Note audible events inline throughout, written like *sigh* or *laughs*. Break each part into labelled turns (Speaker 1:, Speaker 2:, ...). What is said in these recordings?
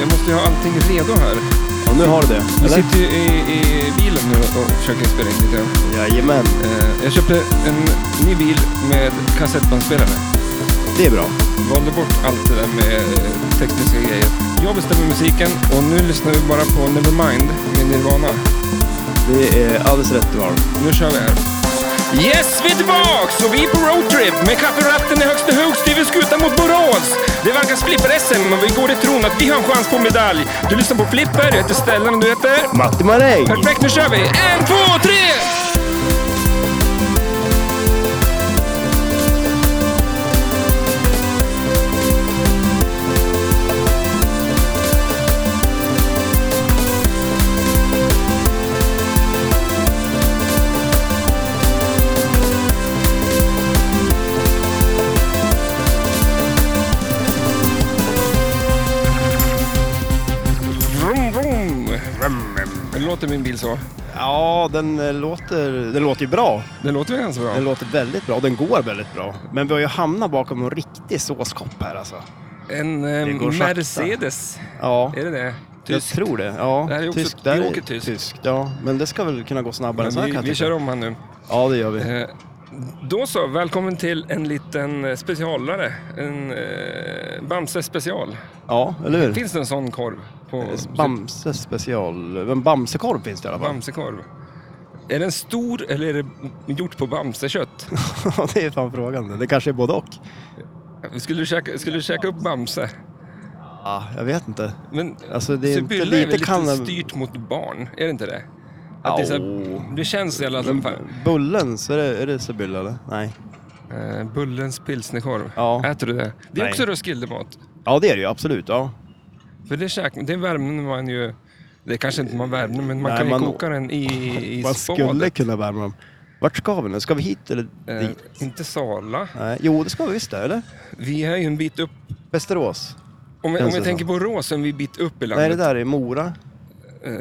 Speaker 1: Jag måste ju ha allting redo här.
Speaker 2: Och nu har du det,
Speaker 1: Vi
Speaker 2: eller?
Speaker 1: sitter ju i, i bilen nu och försöker spela in lite. grann.
Speaker 2: Jajamän,
Speaker 1: Eh, jag köpte en ny bil med kassettbandspelare.
Speaker 2: det är bra.
Speaker 1: Valde bort allt det där med eh, tekniska grejer. Jag bestämmer musiken och nu lyssnar vi bara på Nevermind med Nirvana.
Speaker 2: Det är alldeles rätt du har.
Speaker 1: Nu kör vi här. Yes, vi är tillbaks och vi är på roadtrip med kafferatten i högsta hugg, Steven skutan mot Borås. Det verkar flipper-SM och vi går i tron att vi har en chans på medalj. Du lyssnar på Flipper, jag heter Stellan och du heter?
Speaker 2: Matti Maräng!
Speaker 1: Perfekt, nu kör vi! En, två, tre! Vroom, vroom. Det låter min bil så.
Speaker 2: Ja, den eh, låter, den låter ju bra.
Speaker 1: Det låter väl ganska bra?
Speaker 2: Den låter väldigt bra. Den går väldigt bra. Men vi har ju hamnat bakom en riktig såskopp här alltså.
Speaker 1: En
Speaker 2: Det
Speaker 1: eh,
Speaker 2: går sakta.
Speaker 1: Mercedes,
Speaker 2: Ja,
Speaker 1: är det det?
Speaker 2: jag
Speaker 1: Tysk.
Speaker 2: tror det. Ja,
Speaker 1: Det här är ju också-
Speaker 2: tysk.
Speaker 1: vi
Speaker 2: där är
Speaker 1: åker tyskt.
Speaker 2: tyskt. Ja, men det ska väl kunna gå snabbare än så
Speaker 1: Men
Speaker 2: här
Speaker 1: vi,
Speaker 2: kan jag
Speaker 1: vi
Speaker 2: tycka.
Speaker 1: kör om han nu.
Speaker 2: Ja, det gör vi.
Speaker 1: Eh, Då så, välkommen till en liten eh, specialare. En eh, Bamse special.
Speaker 2: Ja, eller hur?
Speaker 1: Finns det en sån korv? På
Speaker 2: Bamse special. En Bamsekorv finns det i alla fall.
Speaker 1: Bamsekorv. Är den stor eller är det gjort på
Speaker 2: *laughs*
Speaker 1: Bamsekött?
Speaker 2: det är fan frågan. Det kanske är både och.
Speaker 1: Skulle du käka, skulle du käka upp Bamse?
Speaker 2: Ja, jag vet inte.
Speaker 1: Men
Speaker 2: Alltså, det är inte
Speaker 1: Sibylla är
Speaker 2: lite
Speaker 1: väl lite
Speaker 2: cannab-
Speaker 1: styrt mot barn? Är det inte det? Att det, är så här,
Speaker 2: Au. Mm.
Speaker 1: det känns i alla fall. Alltså, fan.
Speaker 2: Bullens, är det, är det Sibylla eller? Nej.
Speaker 1: Eh, Bullens pilsnerkorv.
Speaker 2: Ja.
Speaker 1: Äter du det? Det är
Speaker 2: Nej.
Speaker 1: också Roskildemat.
Speaker 2: Ja, det är det ju absolut. Ja.
Speaker 1: För det, käk, det värmer man ju... Det kanske inte man värmer, men man
Speaker 2: Nej,
Speaker 1: kan ju
Speaker 2: man-
Speaker 1: koka den i, i
Speaker 2: Man
Speaker 1: spad.
Speaker 2: skulle kunna värma dem. Vart ska vi nu? Ska vi hit eller
Speaker 1: Eh,
Speaker 2: dit?
Speaker 1: inte Sala.
Speaker 2: Nej. Jo, det ska vi visst det, eller?
Speaker 1: Vi är ju en bit upp.
Speaker 2: Västerås?
Speaker 1: Om jag,
Speaker 2: Känns
Speaker 1: om jag
Speaker 2: det
Speaker 1: tänker på Rås, så är vi en bit upp i
Speaker 2: Nej, det
Speaker 1: landet.
Speaker 2: där är Mora.
Speaker 1: Eh,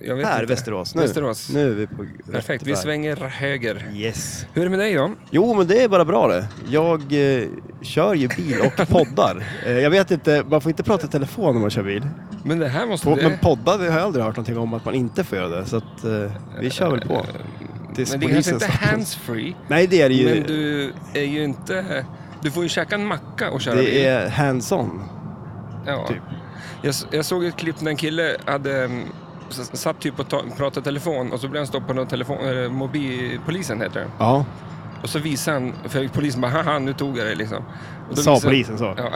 Speaker 1: jag vet
Speaker 2: Här,
Speaker 1: inte.
Speaker 2: Västerås. Nu.
Speaker 1: Västerås.
Speaker 2: nu är vi på rätt
Speaker 1: Perfekt, vi
Speaker 2: väg.
Speaker 1: svänger höger.
Speaker 2: Yes.
Speaker 1: Hur är det med dig då?
Speaker 2: Jo, men det är bara bra det. Jag eh, kör ju bil
Speaker 1: *laughs*
Speaker 2: och poddar. Eh, jag vet inte, man får inte prata i telefon när man kör bil.
Speaker 1: Men det här måste...
Speaker 2: På,
Speaker 1: det-
Speaker 2: Men poddar det har jag aldrig hört någonting om att man inte får göra det. Så att, eh, vi kör väl på. Tills
Speaker 1: men det är kanske
Speaker 2: polisen
Speaker 1: inte
Speaker 2: stoppar oss.
Speaker 1: handsfree.
Speaker 2: Nej, det är det ju.
Speaker 1: Men du är ju inte... Du får ju käka en macka och köra bil.
Speaker 2: Det är hands-on.
Speaker 1: Ja.
Speaker 2: Typ.
Speaker 1: Jag, s- jag såg ett klipp när en kille hade mm, s- satt typ och ta, pratade i telefon och så blev han stoppad av telefon, eller mobil, polisen heter det.
Speaker 2: Ja,
Speaker 1: Och så visade han, för polisen bara haha nu tog jag det liksom. Och då
Speaker 2: sa
Speaker 1: visade-
Speaker 2: polisen så. *laughs*
Speaker 1: Ja.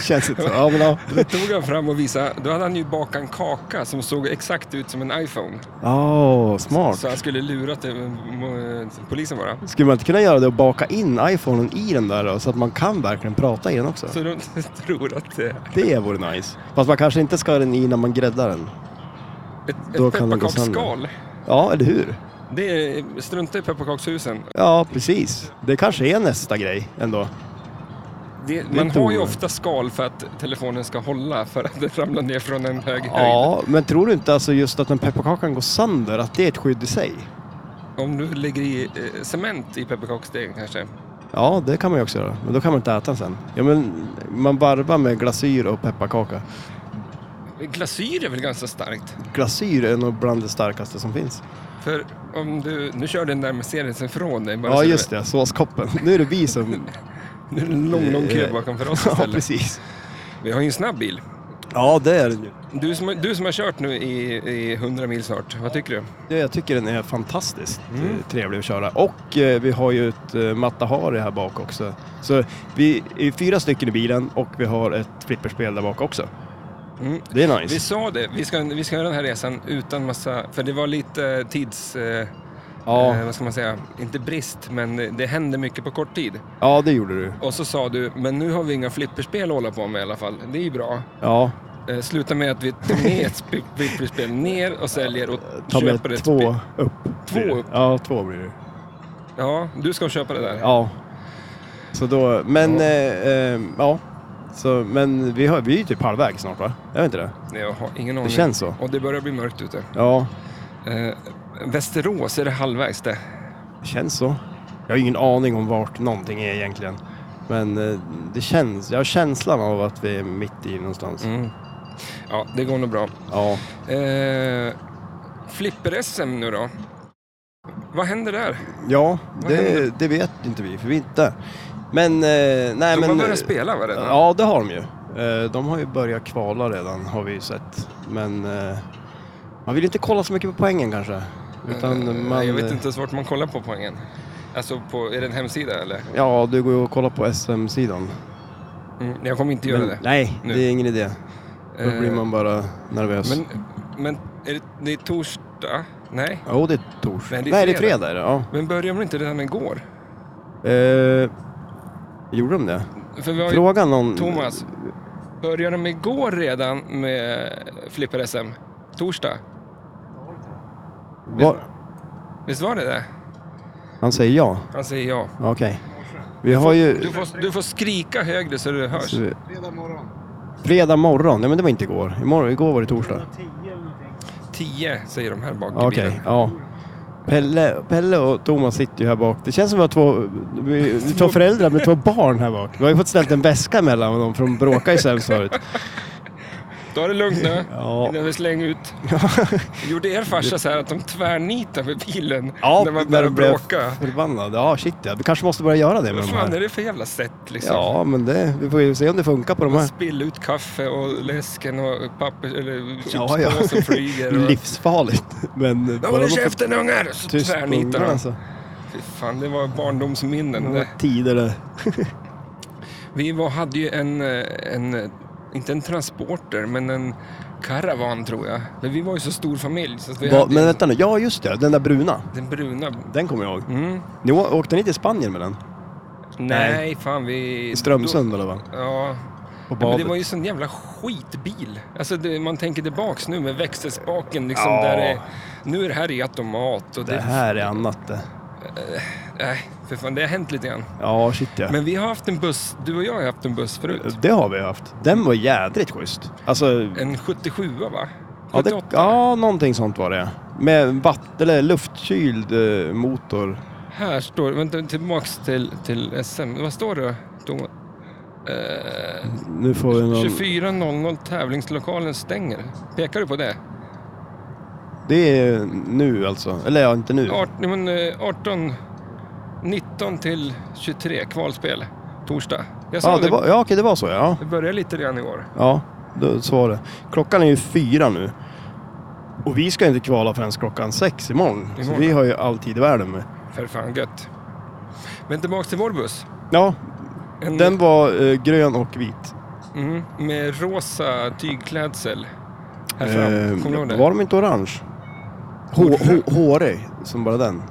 Speaker 1: *laughs*
Speaker 2: Känns inte så. Ja, men ja.
Speaker 1: Då tog han fram och visade, då hade han ju bakat en kaka som såg exakt ut som en iPhone.
Speaker 2: Åh, smart.
Speaker 1: Så han skulle lura till, mm, polisen bara.
Speaker 2: Skulle man inte kunna göra det och baka in iPhonen i den där då, så att man kan verkligen prata i den också?
Speaker 1: Så de *laughs* tror att det är
Speaker 2: Det vore nice. Fast man kanske inte ska ha den i när man gräddar den.
Speaker 1: ett,
Speaker 2: Då
Speaker 1: ett
Speaker 2: kan det gå sönder.
Speaker 1: pepparkaksskal.
Speaker 2: Ja, eller hur?
Speaker 1: Det är, strunta i pepparkakshusen.
Speaker 2: Ja, precis. Det kanske är nästa grej ändå.
Speaker 1: Det, man
Speaker 2: inte
Speaker 1: har ju
Speaker 2: omöjligt.
Speaker 1: ofta skal för att telefonen ska hålla för att den ramlar ner från en hög höjd.
Speaker 2: Ja, men tror du inte alltså just att en pepparkakan går sönder, att det är ett skydd i sig?
Speaker 1: Om du lägger i eh, cement i pepparkaksdegen kanske.
Speaker 2: Ja, det kan man ju också göra. Men då kan man inte äta den sen. Ja, men man varvar med glasyr och pepparkaka.
Speaker 1: Glasyr är väl ganska starkt?
Speaker 2: Glasyr är nog bland det starkaste som finns.
Speaker 1: För om du... Nu kör den där Mercedesen från dig. bara
Speaker 2: Ja,
Speaker 1: så du
Speaker 2: just
Speaker 1: vet.
Speaker 2: det. Såskoppen. *laughs* Nu är det
Speaker 1: *laughs*
Speaker 2: vi som...
Speaker 1: Nu är det en lång, lång kö bakom för oss
Speaker 2: *laughs* ja,
Speaker 1: istället.
Speaker 2: precis.
Speaker 1: Vi har ju en snabb bil.
Speaker 2: Ja, det är den ju.
Speaker 1: Du som, du som har kört nu i, i 100 mil snart, vad tycker du?
Speaker 2: Det- Jag tycker den är fantastiskt
Speaker 1: Mm.
Speaker 2: eh, trevlig att köra. Och eh, vi har ju ett eh, Matahari här bak också. Så vi är fyra stycken i bilen och vi har ett flipperspel där bak också.
Speaker 1: Mm.
Speaker 2: Det är nice.
Speaker 1: Vi sa det, vi ska, vi ska göra den här resan utan massa... För det var lite tids... Eh,
Speaker 2: Ja,
Speaker 1: eh, vad ska man säga? Inte brist, men det, det hände mycket på kort tid.
Speaker 2: ja, det gjorde du.
Speaker 1: Och så sa du, men nu har vi inga flipperspel att hålla på med i alla fall. Det är ju bra.
Speaker 2: Ja,
Speaker 1: Eh, sluta med att vi tar med ett sp- *laughs* flipperspel ner och säljer och
Speaker 2: ta
Speaker 1: köper
Speaker 2: med
Speaker 1: ett
Speaker 2: två
Speaker 1: spel.
Speaker 2: upp.
Speaker 1: Två upp?
Speaker 2: Ja, två blir det.
Speaker 1: Ja, du ska köpa det där.
Speaker 2: Ja. Så då, men
Speaker 1: Ja.
Speaker 2: ja. Eh, eh, ja. Så, men vi, har, vi är ju typ halvvägs snart va? Jag vet inte det.
Speaker 1: Jag har ingen aning.
Speaker 2: känns så.
Speaker 1: Och det börjar bli mörkt ute.
Speaker 2: Ja,
Speaker 1: Eh, Västerås, är det halvvägs det?
Speaker 2: det känns så. Jag har ingen aning om vart någonting är egentligen. Men eh, det känns, jag har känslan av att vi är mitt i någonstans.
Speaker 1: Mm. Ja, det går nog bra.
Speaker 2: Ja.
Speaker 1: Eh, Flipper-SM nu då. Vad händer där?
Speaker 2: Ja,
Speaker 1: Vad
Speaker 2: det, det vet inte vi, för vi är inte där. Men, eh, nej
Speaker 1: De
Speaker 2: men...
Speaker 1: har börjat spela var det?
Speaker 2: Ja, det har de ju. Eh, De har ju börjat kvala redan, har vi ju sett. Men eh, man vill inte kolla så mycket på poängen kanske. Utan man,
Speaker 1: Eh,
Speaker 2: eh,
Speaker 1: Nej, jag vet inte ens vart man kollar på poängen. Alltså, på, är det en hemsida eller?
Speaker 2: Ja, du går ju och kollar på SM-sidan.
Speaker 1: Mm, jag kommer inte göra
Speaker 2: Men-
Speaker 1: det.
Speaker 2: Nej,
Speaker 1: Nu.
Speaker 2: det är ingen idé. Då
Speaker 1: Eh,
Speaker 2: blir man bara nervös.
Speaker 1: Men, men är det, det är torsdag? Nej.
Speaker 2: Jo, det är torsdag.
Speaker 1: Nej,
Speaker 2: Nej,
Speaker 1: det är
Speaker 2: det är
Speaker 1: fredag.
Speaker 2: fredag. är det, Ja.
Speaker 1: Men började de inte redan igår?
Speaker 2: Eh, gjorde de det?
Speaker 1: För vi har ju,
Speaker 2: Fråga någon...
Speaker 1: Thomas, började de igår redan med Flipper-SM? Torsdag?
Speaker 2: Var...
Speaker 1: Visst var det det?
Speaker 2: Han säger ja.
Speaker 1: Han säger ja.
Speaker 2: Okej. Vi har ju...
Speaker 1: Du får, du får skrika högre så du hörs.
Speaker 2: Alltså-
Speaker 3: Fredag morgon.
Speaker 2: Fredag morgon. Nej, men det var inte igår. Imorgon, igår var det torsdag.
Speaker 3: 10 eller någonting.
Speaker 1: 10 säger de här bak i
Speaker 2: Okej,
Speaker 1: bilen.
Speaker 2: ja. Pelle, Pelle och Thomas sitter ju här bak. Det känns som att vi har två, vi, vi är två föräldrar med två barn här bak. Vi har ju fått ställt en väska mellan dem för de bråkade ju sämst förut.
Speaker 1: Då är det lugnt nu.
Speaker 2: *laughs* Ja.
Speaker 1: Innan vi slänger
Speaker 2: *laughs*
Speaker 1: ut. Gjorde er farsa så här att de tvärnitar med bilen
Speaker 2: Ja,
Speaker 1: när man börjar
Speaker 2: de blev
Speaker 1: bråka?
Speaker 2: Förbannad. Ja, shit ja. Vi kanske måste börja göra det med
Speaker 1: Vad
Speaker 2: de
Speaker 1: fan är
Speaker 2: här.
Speaker 1: det för jävla sätt liksom?
Speaker 2: Ja, men det, vi får ju se om det funkar på de
Speaker 1: Man
Speaker 2: här.
Speaker 1: spiller ut kaffe och läsken och papper eller
Speaker 2: Ja,
Speaker 1: chipspåsen
Speaker 2: ja.
Speaker 1: flyger. Och...
Speaker 2: Livsfarligt. *laughs* Men
Speaker 1: Nu håller
Speaker 2: de får
Speaker 1: käften ungar! Så
Speaker 2: tyst på
Speaker 1: tvärnitar
Speaker 2: ungarna,
Speaker 1: de.
Speaker 2: alltså.
Speaker 1: Fy fan, det var barndomsminnen.
Speaker 2: Det
Speaker 1: Det.
Speaker 2: var tider det.
Speaker 1: Vi var, hade ju en, eh, en, inte en transporter, men en karavan tror jag. Men vi var ju så stor familj så att vi
Speaker 2: Va,
Speaker 1: hade
Speaker 2: men
Speaker 1: ju
Speaker 2: vänta nu. Ja, just det. Den där bruna.
Speaker 1: den bruna.
Speaker 2: Den kommer jag ihåg.
Speaker 1: Mm.
Speaker 2: Ni å- åkte ni till Spanien med den?
Speaker 1: Nej,
Speaker 2: Nej.
Speaker 1: fan vi...
Speaker 2: I Strömsund eller vad?
Speaker 1: Då, ja.
Speaker 2: På
Speaker 1: ja men det
Speaker 2: badet.
Speaker 1: var ju sån jävla skitbil. Alltså det, man tänker tillbaks nu med växelspaken liksom.
Speaker 2: Ja.
Speaker 1: Där det, nu är det här i automat och det...
Speaker 2: Det här är annat det.
Speaker 1: Nej, för fan det har hänt lite grann.
Speaker 2: Ja, shit ja.
Speaker 1: Men vi har haft en buss, du och jag har haft en buss förut.
Speaker 2: Det har vi haft. Den var jädrigt schysst. Alltså,
Speaker 1: En 77 va?
Speaker 2: ja, det,
Speaker 1: 78?
Speaker 2: ja, någonting sånt var det. Med vatt, eller luftkyld eh, motor.
Speaker 1: Här står, vänta tillbaks till, till SM. Vad står det då? Eh,
Speaker 2: Nu får vi någon...
Speaker 1: 24.00 tävlingslokalen stänger. Pekar du på det?
Speaker 2: Det är nu alltså. Eller ja, inte nu.
Speaker 1: 18, nej, men, eh, 18 19 till 23 kvalspel torsdag. Jag sa
Speaker 2: Ja, det var, ja okej, det var så ja.
Speaker 1: det börjar lite redan i år.
Speaker 2: Ja, då, så var det. Klockan är ju fyra nu. Och vi ska inte kvala förrän klockan sex imorgon. Så
Speaker 1: Imorgon.
Speaker 2: vi har ju all tid i världen med.
Speaker 1: För fan gött. Men tillbaks till vår buss.
Speaker 2: Ja,
Speaker 1: En,
Speaker 2: den var eh, grön och vit.
Speaker 1: mm, med rosa tygklädsel. Här fram.
Speaker 2: Eh,
Speaker 1: Kommer du ihåg det?
Speaker 2: var de inte orange? Hå- hå- Hårig, som bara den.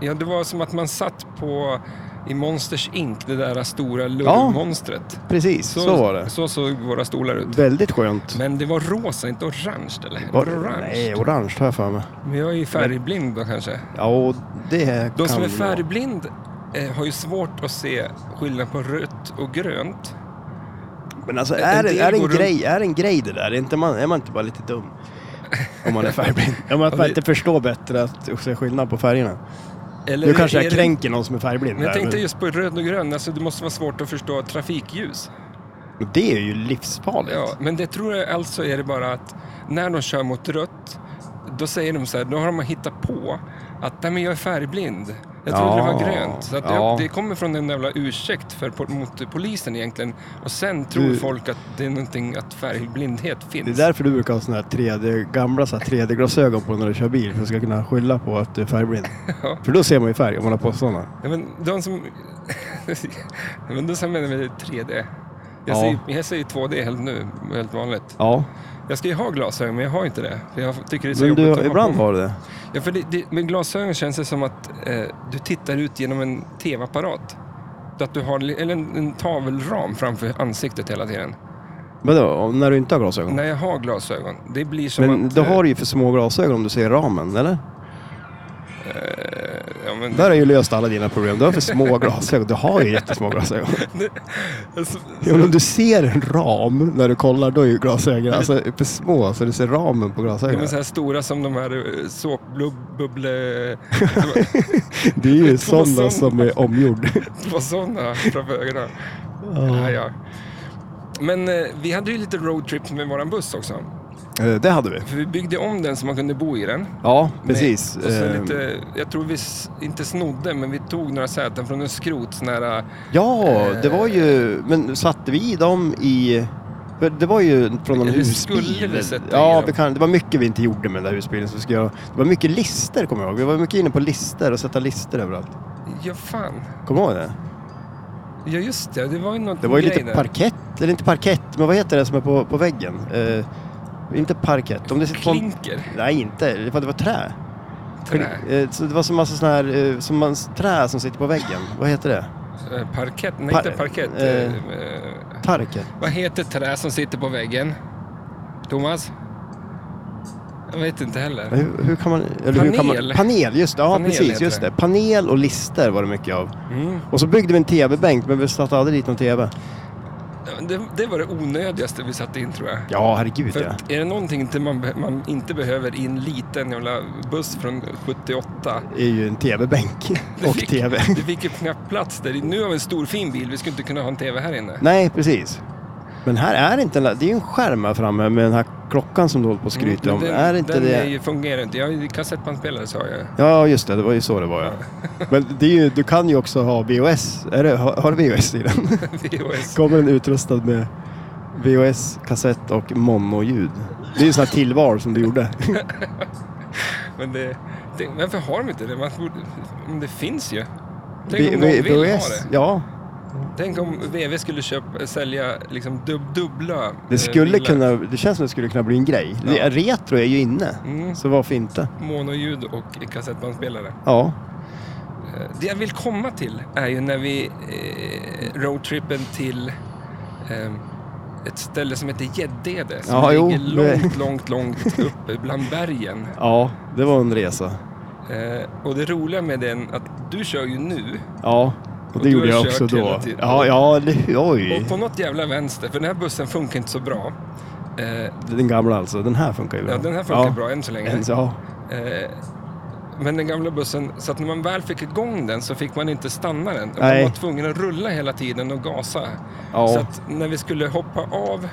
Speaker 1: Ja, det var som att man satt på i Monsters Inc. Det där stora
Speaker 2: Ja.
Speaker 1: lurvmonstret.
Speaker 2: Precis, så, var det.
Speaker 1: Så såg våra stolar ut.
Speaker 2: Väldigt skönt.
Speaker 1: Men det var rosa, inte orange eller?
Speaker 2: Var-
Speaker 1: det orange?
Speaker 2: Nej, orange har jag för mig.
Speaker 1: Men jag är ju färgblind då kanske.
Speaker 2: Ja, och det
Speaker 1: De
Speaker 2: kan
Speaker 1: som är
Speaker 2: vara.
Speaker 1: färgblind eh, har ju svårt att se skillnad på rött och grönt.
Speaker 2: Men alltså,
Speaker 1: en
Speaker 2: är, det-
Speaker 1: del
Speaker 2: är, det en
Speaker 1: går runt-
Speaker 2: grej, är det en grej det där? Är, inte man, är man inte bara lite dum? Om man är färgblind. Om
Speaker 1: Ja,
Speaker 2: att
Speaker 1: det-
Speaker 2: man inte förstår bättre att se skillnad på färgerna.
Speaker 1: Eller
Speaker 2: Nu kanske
Speaker 1: är
Speaker 2: jag
Speaker 1: det-
Speaker 2: kränker någon som är färgblind.
Speaker 1: Men jag
Speaker 2: där,
Speaker 1: tänkte just på röd och grön, alltså det måste vara svårt att förstå trafikljus.
Speaker 2: men det är ju livsfarligt.
Speaker 1: Ja, men det tror jag alltså är det bara att när de kör mot rött, då säger de så här, då har de hittat på att nej men jag är färgblind. Jag trodde det var
Speaker 2: Ja,
Speaker 1: grönt. Så att
Speaker 2: ja.
Speaker 1: det, det kommer från en jävla ursäkt för, po- mot polisen egentligen. Och sen tror
Speaker 2: Du-
Speaker 1: folk att det är någonting, att färgblindhet
Speaker 2: Det är
Speaker 1: finns.
Speaker 2: därför du brukar ha såna här 3D, gamla så här 3D-glasögon på när du kör bil. För att du ska kunna skylla på att du är färgblind.
Speaker 1: Ja.
Speaker 2: För då ser man ju färg om man har på sådana.
Speaker 1: Ja, men de som... *laughs* men de som menar med 3D. Jag,
Speaker 2: Ja.
Speaker 1: säger, jag säger 2D helt nu, helt vanligt.
Speaker 2: Ja,
Speaker 1: Jag ska ju ha glasögon, men jag har inte det. För jag tycker det är så
Speaker 2: men
Speaker 1: jobbigt
Speaker 2: du,
Speaker 1: att ha
Speaker 2: ibland
Speaker 1: på mig.
Speaker 2: har du det.
Speaker 1: Ja, för det, det, med glasögon känns det som att eh, du tittar ut genom en tv-apparat. Så Att du har li- eller en, en tavelram framför ansiktet hela tiden.
Speaker 2: Mm. Men då, när du inte har glasögon?
Speaker 1: När jag har glasögon, det blir som
Speaker 2: Men
Speaker 1: att... eh,
Speaker 2: då har du ju för små glasögon om du ser ramen, eller?
Speaker 1: eh, ja, men men
Speaker 2: Där har jag ju löst alla dina problem. Du har för små glasögon. Du har ju jättesmå glasögon.
Speaker 1: alltså,
Speaker 2: Ja, men om du ser en ram när du kollar, då är ju glasögonen alltså, för små. Så du ser ramen på
Speaker 1: de
Speaker 2: glasögonen.
Speaker 1: är så här stora som de här eh, såpbubble...
Speaker 2: *laughs* Det
Speaker 1: *laughs*
Speaker 2: är ju
Speaker 1: Två sådana.
Speaker 2: sådana som är omgjord.
Speaker 1: Det var sådana framför ögonen. Ja,
Speaker 2: Ja.
Speaker 1: ja. Men eh, vi hade ju lite roadtrip med våran buss också.
Speaker 2: Eh, Det hade vi.
Speaker 1: För vi byggde om den så man kunde bo i den.
Speaker 2: Ja, precis.
Speaker 1: Med, och så
Speaker 2: Eh,
Speaker 1: lite, jag tror vi s- inte snodde, men vi tog några säten från en skrot. Sån här,
Speaker 2: Ja, det
Speaker 1: eh,
Speaker 2: var ju... Men satte vi i dem i... för Det var ju från någon
Speaker 1: Eller
Speaker 2: husbil.
Speaker 1: skulle vi sätta i
Speaker 2: ja,
Speaker 1: dem?
Speaker 2: vi kan, det var mycket vi inte gjorde med den där husbilen. Så ska jag, det var mycket lister kommer jag ihåg. Vi var mycket inne på lister och sätta lister överallt.
Speaker 1: ja fan.
Speaker 2: Kommer du ihåg det?
Speaker 1: Ja just det, det var ju något
Speaker 2: Det var ju
Speaker 1: grej
Speaker 2: lite parkett, eller inte parkett, men vad heter det som är på, på väggen? Eh, inte parkett. Om det sitter på en,
Speaker 1: Klinker.
Speaker 2: nej, inte. Det var, det var trä.
Speaker 1: Trä.
Speaker 2: Eh, så det var som massa sån här, eh, som man, trä som sitter på väggen. Vad heter det?
Speaker 1: Eh, Parkett? Nej,
Speaker 2: Par-
Speaker 1: inte parkett.
Speaker 2: eh.
Speaker 1: Eh, eh,
Speaker 2: Parket.
Speaker 1: Vad heter trä som sitter på väggen? Thomas? Jag vet inte heller.
Speaker 2: Hur, hur kan man, eller Hur kan man,
Speaker 1: Panel.
Speaker 2: panel, just det. Ja,
Speaker 1: Panel
Speaker 2: precis.
Speaker 1: heter
Speaker 2: Just
Speaker 1: det.
Speaker 2: det. Panel och lister var det mycket av.
Speaker 1: Mm.
Speaker 2: Och så byggde vi en TV-bänk, men vi satte aldrig dit någon TV.
Speaker 1: Det, det var det onödigaste vi satte in tror jag.
Speaker 2: Ja, herregud
Speaker 1: För
Speaker 2: ja.
Speaker 1: att är det någonting inte man, be- man inte behöver i en liten jävla buss från 78
Speaker 2: Det är ju en TV-bänk
Speaker 1: *laughs* Det
Speaker 2: och
Speaker 1: fick-
Speaker 2: TV.
Speaker 1: Det fick ju knappt plats där. Nu har vi en stor fin bil, vi skulle inte kunna ha en TV här inne.
Speaker 2: Nej, precis. Men här är det inte en, la- det är ju en skärm här framme med den här klockan som du håller på att skryta om.
Speaker 1: Mm, Men den,
Speaker 2: är det inte
Speaker 1: den
Speaker 2: det?
Speaker 1: är ju- fungerar inte. Jag har ju kassettbandspelare sa jag. *laughs*
Speaker 2: Ja, just det. Det var ju så det var ja. Men det är ju, du kan ju också ha VHS. Är det, har, har du VHS i den?
Speaker 1: *laughs* VHS.
Speaker 2: Kommer den utrustad med VHS, kassett och monoljud. Det är ju sådana här tillval som du gjorde.
Speaker 1: Men det, det, varför har de inte det? Man borde, men det finns ju. Tänk
Speaker 2: V-
Speaker 1: om de
Speaker 2: V-
Speaker 1: vill ha
Speaker 2: VHS,
Speaker 1: det.
Speaker 2: ja.
Speaker 1: Tänk om VW skulle köpa, sälja liksom dub, dubbla eh,
Speaker 2: Det skulle
Speaker 1: bilar.
Speaker 2: kunna, det känns som det skulle kunna bli en grej. Det-
Speaker 1: Ja.
Speaker 2: Retro är ju inne,
Speaker 1: Mm.
Speaker 2: så varför inte?
Speaker 1: Monoljud och kassettbandspelare.
Speaker 2: Ja,
Speaker 1: Eh, Det jag vill komma till är ju när vi eh, roadtrippen till eh, ett ställe som heter Gäddede som
Speaker 2: Ja, jo,
Speaker 1: ligger
Speaker 2: det-
Speaker 1: långt, långt,
Speaker 2: *laughs*
Speaker 1: långt uppe bland bergen.
Speaker 2: ja, det var en resa.
Speaker 1: Eh, och det roliga med den att du kör ju nu
Speaker 2: Ja, och
Speaker 1: Och
Speaker 2: det
Speaker 1: du
Speaker 2: gjorde
Speaker 1: har
Speaker 2: jag
Speaker 1: kört
Speaker 2: också
Speaker 1: hela
Speaker 2: då.
Speaker 1: tiden.
Speaker 2: Ja, ja, det- oj.
Speaker 1: och på något jävla vänster, för den här bussen funkar inte så bra. Eh,
Speaker 2: Den gamla alltså, den här funkar ju bra.
Speaker 1: ja, den här funkar
Speaker 2: Ja.
Speaker 1: bra än så länge.
Speaker 2: En- Ja,
Speaker 1: Eh, men den gamla bussen, så att när man väl fick igång den så fick man inte stanna den. Man
Speaker 2: Nej.
Speaker 1: var tvungen att rulla hela tiden och gasa. Så
Speaker 2: ja.
Speaker 1: att när vi skulle hoppa av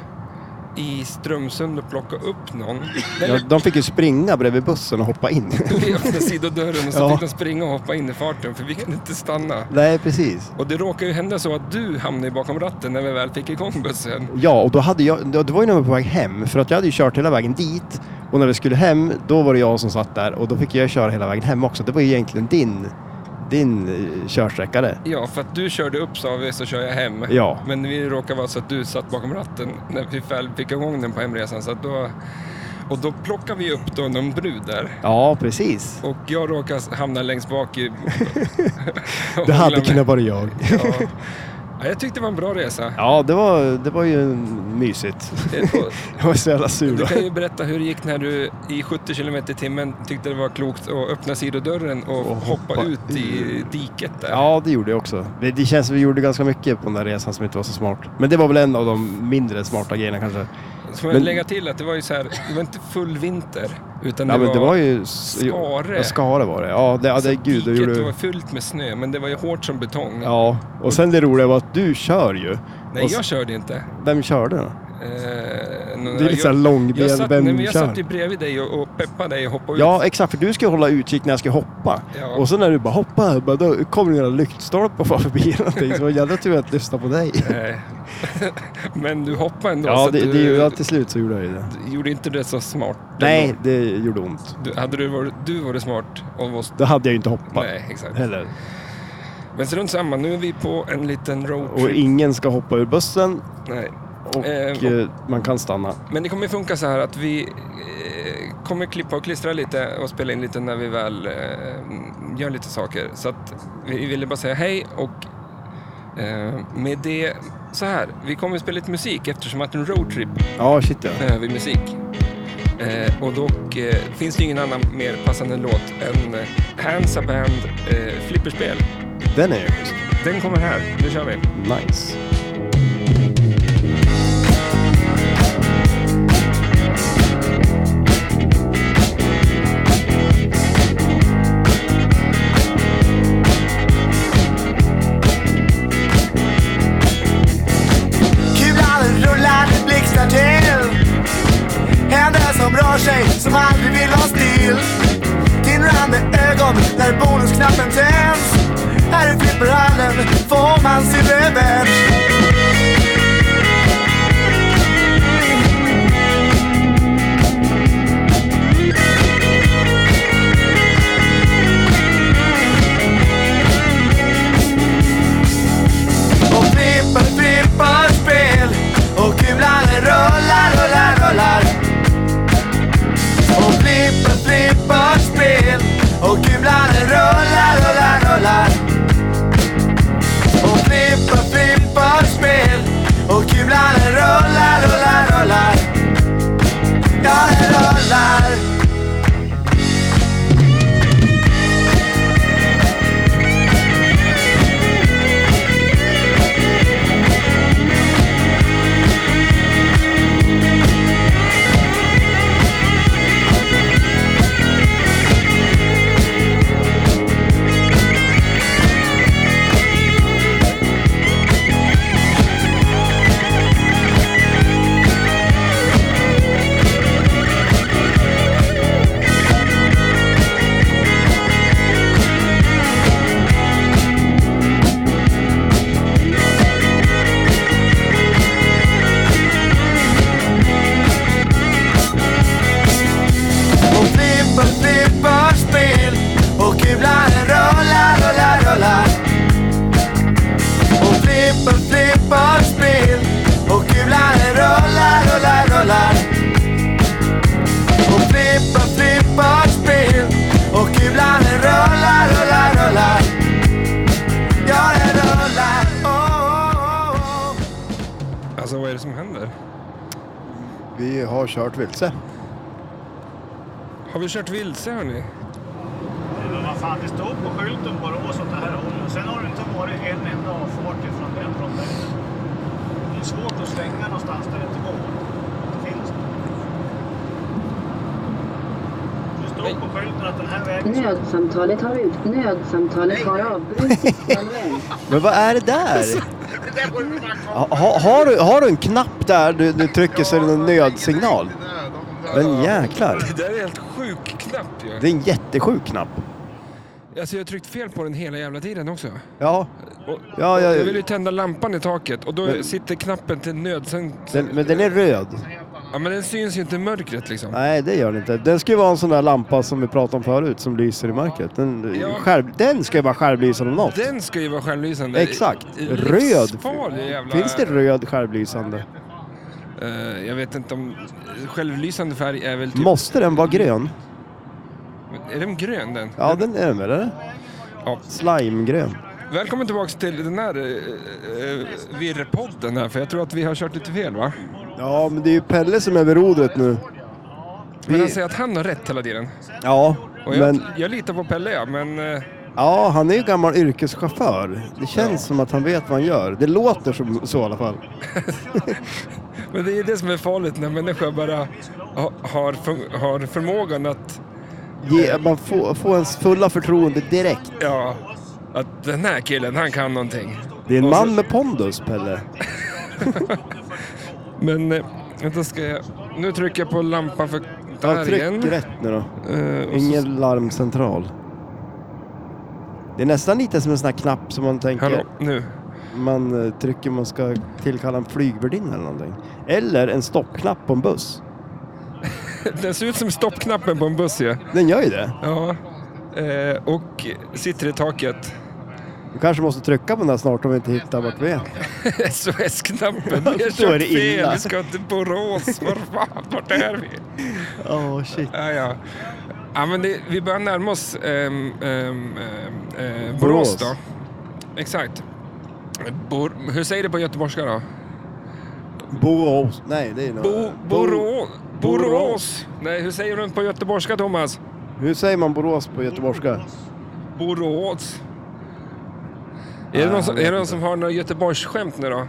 Speaker 1: i Strömsund och plocka upp
Speaker 2: *laughs*
Speaker 1: någon. *laughs*
Speaker 2: ja,
Speaker 1: Eller
Speaker 2: de fick ju springa bredvid bussen och hoppa in. *laughs*
Speaker 1: vi öppnade sidodörren och så
Speaker 2: Ja.
Speaker 1: fick de springa och hoppa in i farten för vi kunde inte stanna.
Speaker 2: Nej, precis.
Speaker 1: Och det råkade ju hända så att du hamnade bakom ratten när vi väl fick igång bussen.
Speaker 2: Ja, och då hade jag, då- det var ju när jag var på väg hem, för att jag hade ju kört hela vägen dit. Och när vi skulle hem, då var det jag som satt där och då fick jag köra hela vägen hem också. Det var ju egentligen din, din eh, körsträcka det.
Speaker 1: Ja, för att du körde upp sa vi så kör jag hem.
Speaker 2: Ja.
Speaker 1: Men vi råkade vara så att du satt bakom ratten när vi väl fick igång den på hemresan. Så att då, och då plockade vi upp då någon brud där.
Speaker 2: Ja, precis.
Speaker 1: Och jag råkade hamna längst bak
Speaker 2: *laughs*
Speaker 1: i... *laughs*
Speaker 2: Det hade
Speaker 1: Hångla med-
Speaker 2: kunnat vara jag. *laughs*
Speaker 1: Ja. *laughs* Ja, jag tyckte det var en bra resa.
Speaker 2: Ja, det var, det var ju mysigt. *laughs* Jag var så jävla sur
Speaker 1: Du
Speaker 2: då.
Speaker 1: kan ju berätta hur det gick när du i 70 km i timmen tyckte det var klokt att öppna sidodörren och
Speaker 2: Och
Speaker 1: hoppa,
Speaker 2: hoppa
Speaker 1: ut i diket där.
Speaker 2: Ja, det gjorde jag också. Det, det känns som vi gjorde ganska mycket på den där resan som inte var så smart. Men det var väl en av de mindre smarta grejerna kanske.
Speaker 1: Så jag
Speaker 2: men-
Speaker 1: lägga till att det var ju så här, det var inte full vinter utan det,
Speaker 2: Ja, men
Speaker 1: var,
Speaker 2: det var ju...
Speaker 1: Skare. Alltså,
Speaker 2: Ja, Skare var det. Ja, det, ja, det gud, det
Speaker 1: diket
Speaker 2: gjorde...
Speaker 1: var fyllt med snö men det var ju hårt som betong.
Speaker 2: Ja, och sen det roliga var att du kör ju.
Speaker 1: Nej,
Speaker 2: och, s-
Speaker 1: jag körde inte. Eh,
Speaker 2: Vem körde då?
Speaker 1: någon-
Speaker 2: Det är lite såhär
Speaker 1: jag,
Speaker 2: långben,
Speaker 1: satt, nej, men
Speaker 2: vem
Speaker 1: jag
Speaker 2: kör?
Speaker 1: satt ju bredvid dig och, och peppade dig och hoppade
Speaker 2: Ja,
Speaker 1: ut.
Speaker 2: exakt, för du ska hålla utkik när jag ska hoppa.
Speaker 1: Ja.
Speaker 2: Och så när du bara hoppar, bara, då kommer det en lyktstolpe och far förbi eller någonting. Så det var jävla tur att lyssna
Speaker 1: *laughs*
Speaker 2: på dig.
Speaker 1: Eh, men du hoppade ändå.
Speaker 2: Ja,
Speaker 1: så
Speaker 2: det,
Speaker 1: att
Speaker 2: det är
Speaker 1: du,
Speaker 2: ju ja, till slut så gjorde jag ju det.
Speaker 1: du gjorde inte det så smart.
Speaker 2: Nej, det gjorde ont.
Speaker 1: Du, hade du varit, du varit smart av oss?
Speaker 2: Då hade jag ju inte hoppat
Speaker 1: Nej, exakt.
Speaker 2: heller.
Speaker 1: Men strunt samma, nu är vi på en liten roadtrip.
Speaker 2: Och ingen ska hoppa ur bussen
Speaker 1: Nej.
Speaker 2: och
Speaker 1: Eh, och-
Speaker 2: eh, man kan stanna.
Speaker 1: Men det kommer funka så här att vi eh, kommer klippa och klistra lite och spela in lite när vi väl eh, gör lite saker. Så att vi ville bara säga hej och eh, med det så här. Vi kommer spela lite musik eftersom att en roadtrip
Speaker 2: Ja, shit ja.
Speaker 1: behöver musik. Eh, Eh, och dock eh, finns det ingen annan mer passande låt än eh, Hansa Band eh, Flipperspel.
Speaker 2: Den är episk.
Speaker 1: Den kommer här, nu kör vi.
Speaker 2: Nice.
Speaker 3: Kulan rullar, det blixtrar till. Händer som rör sig, som aldrig vill vara still. Tindrande ögon när bonusknappen tänds. Här i flipperhallen får man sin revenge. och flippar, flippar spel och kulan rullar, rullar, rullar. Och flippar, flippar spel och kulan rullar, rullar, rullar. Och flippar, flippar spel och kulan rullar, rullar, rullar. Ja, den rullar. Och flipper, flipper spel Och kulan rullar, rullar, rullar Och flipper, flipper spel Och kulan rullar, rullar, rullar Och flipper, flipper spel Och kulan rullar, rullar, rullar Ja, den rullar oh, oh, oh, oh.
Speaker 1: Alltså vad är det som händer?
Speaker 2: Vi har kört vilse.
Speaker 1: Har vi kört vilse hörni?
Speaker 4: Men vad fan, det stod på skylten Borås åt det här hållet. Sen har det inte varit en enda avfart ifrån den rondellen. Det är svårt att svänga någonstans där det inte går. Det finns Det stod på skylten att den här vägen...
Speaker 5: Nödsamtalet har, ut, nödsamtalet har avbrutits manuellt.
Speaker 2: Men vad är *laughs* det där?
Speaker 4: Det där var ju bara kvar.
Speaker 2: Ha, ha- har, du, har du en knapp där du, du trycker så är det en nödsignal? Men jäklar.
Speaker 1: Det där är en helt sjuk knapp ju.
Speaker 2: Det är en jättesjuk knapp.
Speaker 1: Alltså jag har tryckt fel på den hela jävla tiden också.
Speaker 2: Ja,
Speaker 1: Och,
Speaker 2: ja,
Speaker 1: Jag vill
Speaker 2: ja.
Speaker 1: ju tända lampan i taket och då
Speaker 2: Men-
Speaker 1: sitter knappen till nödsäng...
Speaker 2: Den, men den är röd.
Speaker 1: Ja men den syns ju inte i mörkret liksom.
Speaker 2: Nej, det gör den inte. Den ska ju vara en sån där lampa som vi pratade om förut som lyser i mörkret. Den,
Speaker 1: Ja.
Speaker 2: själv, den ska ju vara självlysande om något.
Speaker 1: Den ska ju vara självlysande.
Speaker 2: Exakt.
Speaker 1: I- i
Speaker 2: Röd.
Speaker 1: livsfarlig eh, jävla...
Speaker 2: Finns det röd självlysande?
Speaker 1: Eh, jag vet inte om... Självlysande färg är väl typ...
Speaker 2: Måste den vara grön?
Speaker 1: Är den grön den?
Speaker 2: Ja, den är den väl, eller?
Speaker 1: Ja.
Speaker 2: Slimegrön.
Speaker 1: Välkommen tillbaks till den här uh, virrpodden här, för jag tror att vi har kört lite fel va?
Speaker 2: Ja, men det är ju Pelle som är vid rodret nu.
Speaker 1: Men han
Speaker 2: Vi-
Speaker 1: säger att han har rätt hela tiden.
Speaker 2: Ja,
Speaker 1: Och jag,
Speaker 2: men
Speaker 1: jag litar på Pelle ja, men... eh,
Speaker 2: ja, han är ju gammal yrkeschaufför. Det känns som att han vet vad han gör. Det låter som så i alla fall.
Speaker 1: Men det är ju det som är farligt när människor bara ha, har, fun- har förmågan att,
Speaker 2: Ge, man får, får ens fulla förtroende direkt.
Speaker 1: ja, att den här killen, han kan någonting.
Speaker 2: Det är en
Speaker 1: Och så-
Speaker 2: man med pondus, Pelle.
Speaker 1: Men, eh, vänta ska jag, nu trycker jag på lampan för
Speaker 2: Ja,
Speaker 1: där igen.
Speaker 2: tryck rätt nu då.
Speaker 1: Eh, och så-
Speaker 2: Ingen larmcentral. Det är nästan lite som en sån här knapp som man tänker
Speaker 1: Hallå, nu. *laughs*
Speaker 2: man eh, trycker man ska tillkalla en flygvärdinna eller någonting. Eller en stoppknapp på en buss.
Speaker 1: Den ser ut som stoppknappen på en buss ju.
Speaker 2: Den gör ju det.
Speaker 1: Ja. Eh, och sitter i taket. *laughs*
Speaker 2: Du kanske måste trycka på den där snart om vi inte hittar vart vi är.
Speaker 1: SOS-knappen. Vi har
Speaker 2: Så är
Speaker 1: kört
Speaker 2: det
Speaker 1: fel,
Speaker 2: illa.
Speaker 1: vi ska till Borås. Var fan, vart är vi?
Speaker 2: Åh shit.
Speaker 1: Ja, ja. ja men det, vi börjar närma oss ehm, ehm, ehm, eh, Borås,
Speaker 2: Borås.
Speaker 1: då. Exakt. Bor, hur säger det på göteborgska då?
Speaker 2: Borås. Nej, det är något.
Speaker 1: Bo, Borå, Borås. Nej, hur säger du på göteborgska, Thomas?
Speaker 2: Hur säger man Borås på göteborgska?
Speaker 1: Borås. Är det, någon som, är det någon som har något Göteborgsskämt nu då?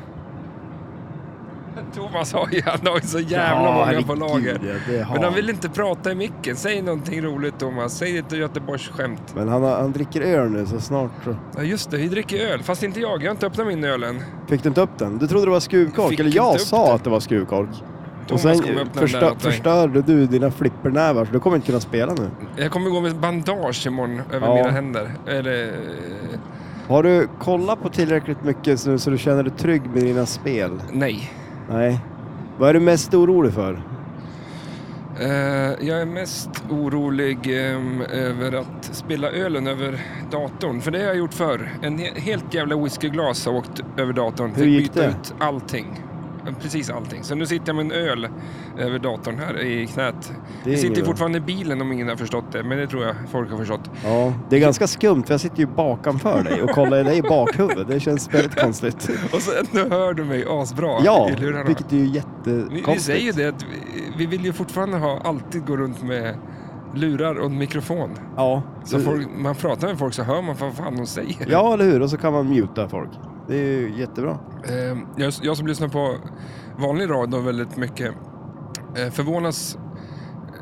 Speaker 1: Thomas har ju han har ju så jävla
Speaker 2: Ja,
Speaker 1: många på
Speaker 2: herregud,
Speaker 1: lager.
Speaker 2: ja, det har
Speaker 1: Men han
Speaker 2: han.
Speaker 1: vill inte prata i micken. Säg någonting roligt Thomas. Säg inte Göteborgsskämt.
Speaker 2: Men han, har- han dricker öl nu så snart så...
Speaker 1: Ja just det, vi dricker öl. Fast inte jag. Jag har inte öppnat min öl än.
Speaker 2: Fick du inte upp den? Du trodde det var skruvkork,
Speaker 1: Fick
Speaker 2: eller
Speaker 1: inte
Speaker 2: jag
Speaker 1: upp
Speaker 2: sa
Speaker 1: den.
Speaker 2: att det var skruvkork. Och
Speaker 1: Thomas
Speaker 2: sen
Speaker 1: kommer öppna den där
Speaker 2: förstör,
Speaker 1: åt dig.
Speaker 2: förstörde du dina flippernävar så du kommer inte kunna spela nu.
Speaker 1: Jag kommer gå med bandage imorgon över
Speaker 2: Ja.
Speaker 1: mina händer. Eller... eh,
Speaker 2: Har du kollat på tillräckligt mycket nu så du känner dig trygg med dina spel?
Speaker 1: Nej.
Speaker 2: Nej. Vad är du mest orolig för?
Speaker 1: Eh, jag är mest orolig ehm, över att spilla ölen över datorn. För det har jag gjort förr. En he- helt jävla whiskyglas har åkt över datorn.
Speaker 2: Hur gick
Speaker 1: byta
Speaker 2: det?
Speaker 1: ut allting. Eh, Precis allting. Så nu sitter jag med en öl över datorn här i knät.
Speaker 2: Det är
Speaker 1: Jag sitter
Speaker 2: inget
Speaker 1: ju
Speaker 2: bra.
Speaker 1: fortfarande i bilen om ingen har förstått det. Men det tror jag folk har förstått.
Speaker 2: Ja, det är ganska skumt för jag sitter ju bakanför dig och kollar dig i bakhuvudet. Det känns väldigt konstigt.
Speaker 1: Och sen nu hör du mig asbra
Speaker 2: Ja,
Speaker 1: i lurarna.
Speaker 2: vilket är ju
Speaker 1: Vi,
Speaker 2: jättekonstigt.
Speaker 1: vi säger ju det att vi, vi vill ju fortfarande ha, alltid gå runt med lurar och en mikrofon.
Speaker 2: Ja,
Speaker 1: Så folk, man pratar med folk så hör man vad fan de säger.
Speaker 2: ja, eller hur? Och så kan man muta folk. Det är ju jättebra.
Speaker 1: Eh, Jag, jag som lyssnar på vanlig radio väldigt mycket eh, förvånas...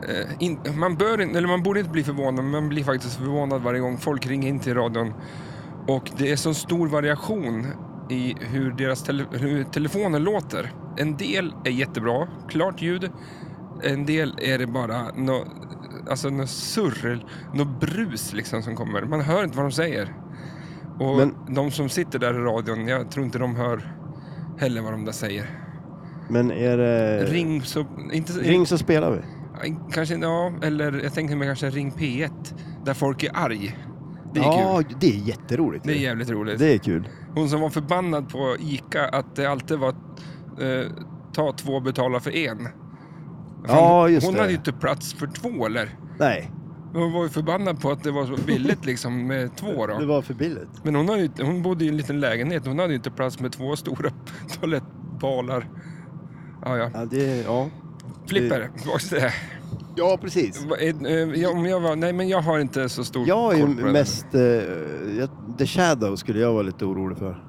Speaker 1: eh, In, man, bör, in- eller man borde inte bli förvånad, men man blir faktiskt förvånad varje gång folk ringer in till radion. Och det är så stor variation i hur deras tele, hur telefonen låter. En del är jättebra, klart ljud. En del är det bara nå alltså något surr, något brus liksom som kommer. Man hör inte vad de säger. Och
Speaker 2: Men-
Speaker 1: de som sitter där i radion, jag tror inte de hör heller vad de där säger.
Speaker 2: Men är det...
Speaker 1: Ring så... Inte,
Speaker 2: Eh, Ring så spelar vi.
Speaker 1: Kanske, ja, eller jag tänkte mig kanske Ring P1, där folk är arg. Det är
Speaker 2: ja,
Speaker 1: kul.
Speaker 2: det är jätteroligt.
Speaker 1: Det är
Speaker 2: ju.
Speaker 1: jävligt roligt.
Speaker 2: det är kul.
Speaker 1: Hon som var förbannad på ICA att det alltid var eh, ta två betala för en.
Speaker 2: Ja, just
Speaker 1: hon
Speaker 2: det.
Speaker 1: hade ju inte plats för två eller?
Speaker 2: Nej,
Speaker 1: Hon var ju förbannad på att det var så
Speaker 2: *laughs*
Speaker 1: billigt liksom med två
Speaker 2: det
Speaker 1: då.
Speaker 2: var för billigt.
Speaker 1: Men hon, hade ju, inte- hon bodde i en liten lägenhet, hon hade ju inte plats med två stora *laughs* toalettbalar. Ja, ja.
Speaker 2: Ja, det, ja.
Speaker 1: Flipper,
Speaker 2: Eh,
Speaker 1: tillbaka till det.
Speaker 2: ja precis.
Speaker 1: Vad är- eh, ja, Om jag var, nej men jag har inte så stor
Speaker 2: Jag är ju
Speaker 1: koll på det.
Speaker 2: mest... Eh, jag- The Shadow skulle jag vara lite orolig för.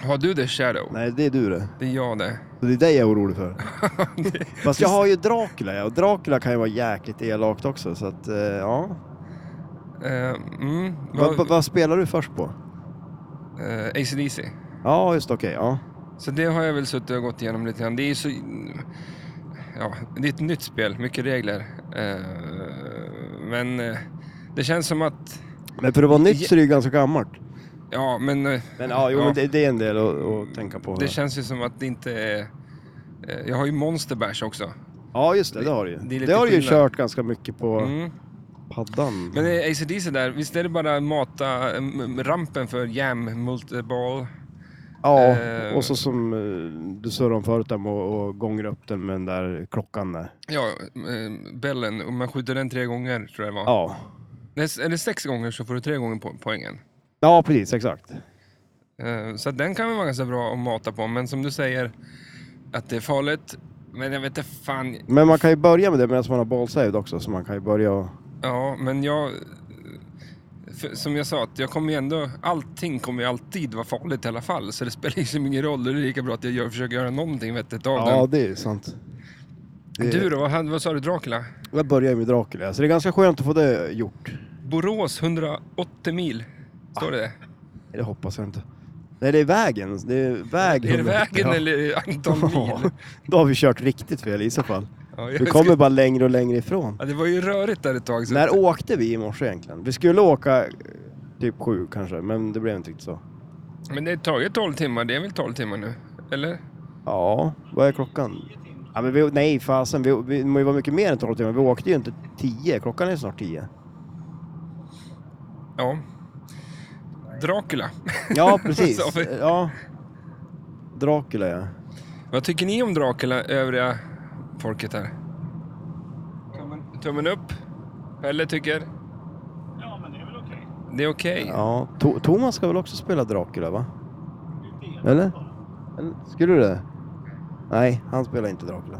Speaker 1: Har du det Shadow?
Speaker 2: Nej, det är du det.
Speaker 1: Det är jag det. *laughs*
Speaker 2: Så det är dig jag är orolig för. Fast jag har ju Dracula ja, och Dracula kan ju vara jäkligt elakt också så att eh, ja.
Speaker 1: Eh, mm,
Speaker 2: Vad
Speaker 1: vad,
Speaker 2: vad spelar du först på?
Speaker 1: eh, AC/DC.
Speaker 2: Ja just okej, ja.
Speaker 1: Så det har jag väl suttit och gått igenom lite grann. Det är ju så... Ja, det är ett nytt spel, mycket regler. Eh, men eh, det känns som att...
Speaker 2: Men för att vara nytt så är det ju ganska gammalt.
Speaker 1: Ja, men... eh,
Speaker 2: Men ja, jo, Men det, det är en del att, att tänka på.
Speaker 1: det känns ju som att det inte är... eh, Jag har ju Monster Bash också.
Speaker 2: ja just det, det har du ju.
Speaker 1: det är
Speaker 2: Det,
Speaker 1: lite
Speaker 2: har du ju
Speaker 1: skillnad.
Speaker 2: kört ganska mycket på
Speaker 1: Mm.
Speaker 2: paddan.
Speaker 1: Men eh, AC/DC där, visst är det bara mata mm, rampen för jam, multiball?
Speaker 2: ja,
Speaker 1: eh,
Speaker 2: och så som eh, du surrade om förut där med att och gångra upp den med den där klockan där.
Speaker 1: Ja, eh, bällen. Och man skjuter den tre gånger, tror jag det var.
Speaker 2: Ja.
Speaker 1: Nej, s- Är det sex gånger så får du tre gånger po- poängen.
Speaker 2: Ja, precis, exakt.
Speaker 1: Eh, Så att den kan väl vara ganska bra att mata på. Men som du säger, att det är farligt. Men jag vet inte fan.
Speaker 2: Men man kan ju börja med det medan man har ballsaved också, så man kan ju börja och...
Speaker 1: Ja, men jag... för- Som jag sa, att jag kommer ju ändå... Allting kommer ju alltid vara farligt i alla fall. Så det spelar liksom ingen roll. Det är lika bra att jag gör, försöker göra någonting vettigt av
Speaker 2: Ja,
Speaker 1: den.
Speaker 2: det är ju sant. det-
Speaker 1: Du då, vad, hade- vad sa du? Dracula?
Speaker 2: Jag börjar med Dracula, så det är ganska skönt att få det gjort.
Speaker 1: Borås 180 mil. Står det det?
Speaker 2: Det hoppas jag inte. Nej, det är vägen. Det är vägen.
Speaker 1: Är det vägen
Speaker 2: Ja.
Speaker 1: eller antal
Speaker 2: Ah, *laughs* Ja,
Speaker 1: mil?
Speaker 2: Då har vi kört riktigt fel i
Speaker 1: *laughs*
Speaker 2: så fall.
Speaker 1: Ja, jag
Speaker 2: Vi
Speaker 1: skulle-
Speaker 2: kommer bara längre och längre ifrån.
Speaker 1: Ja, det var ju rörigt där ett tag. Så
Speaker 2: När åkte vi i morse egentligen? Vi skulle åka eh, typ sju kanske, men det blev inte riktigt så.
Speaker 1: Men det har tagit 12 timmar, det är väl 12 timmar nu? Eller?
Speaker 2: Ja, vad är klockan? Ja, men vi, nej, fasen. Vi, vi, det må ju vara mycket mer än 12 timmar. Vi åkte ju inte 10. Klockan är snart 10.
Speaker 1: Ja. Dracula. *laughs*
Speaker 2: Ja,
Speaker 1: Sa
Speaker 2: precis.
Speaker 1: vi.
Speaker 2: ja. Dracula, ja.
Speaker 1: Vad tycker ni om Dracula, övriga folket här? Tummen, upp? Eller tycker?
Speaker 4: Ja, men det är väl okej.
Speaker 1: Det är okej.
Speaker 2: ja. To- Thomas ska väl också spela Dracula, va? Eller? Eller, Skulle du det? Nej, han spelar inte Dracula.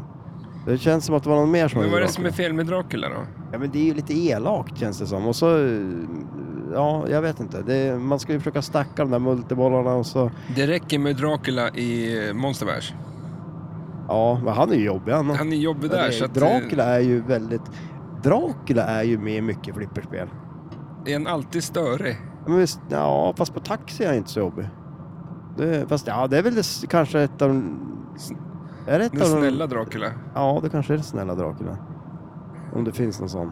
Speaker 2: Det känns som att det var någon mer som
Speaker 1: Men vad är
Speaker 2: gjorde
Speaker 1: det som är
Speaker 2: Dracula.
Speaker 1: fel med Dracula då?
Speaker 2: Ja, men det är ju lite elakt känns det som. Och så... eh, Ja, jag vet inte. Det, man ska ju försöka stacka de där multibollarna och så...
Speaker 1: Det räcker med Dracula i eh, Monsterverse.
Speaker 2: Ja, men han är ju jobbig han.
Speaker 1: Han är jobbig där. så att, eh,
Speaker 2: Dracula är ju väldigt... Dracula är ju med i mycket flipperspel.
Speaker 1: eh, Är han alltid störig?
Speaker 2: Ja, Men visst, ja, fast på taxi är han inte så jobbig. Det, fast ja, det är väl det, s- kanske ett av de... Är det ett
Speaker 1: Den
Speaker 2: av de-
Speaker 1: snälla Dracula.
Speaker 2: Ja, det kanske är det snälla Dracula. Om det finns någon sån.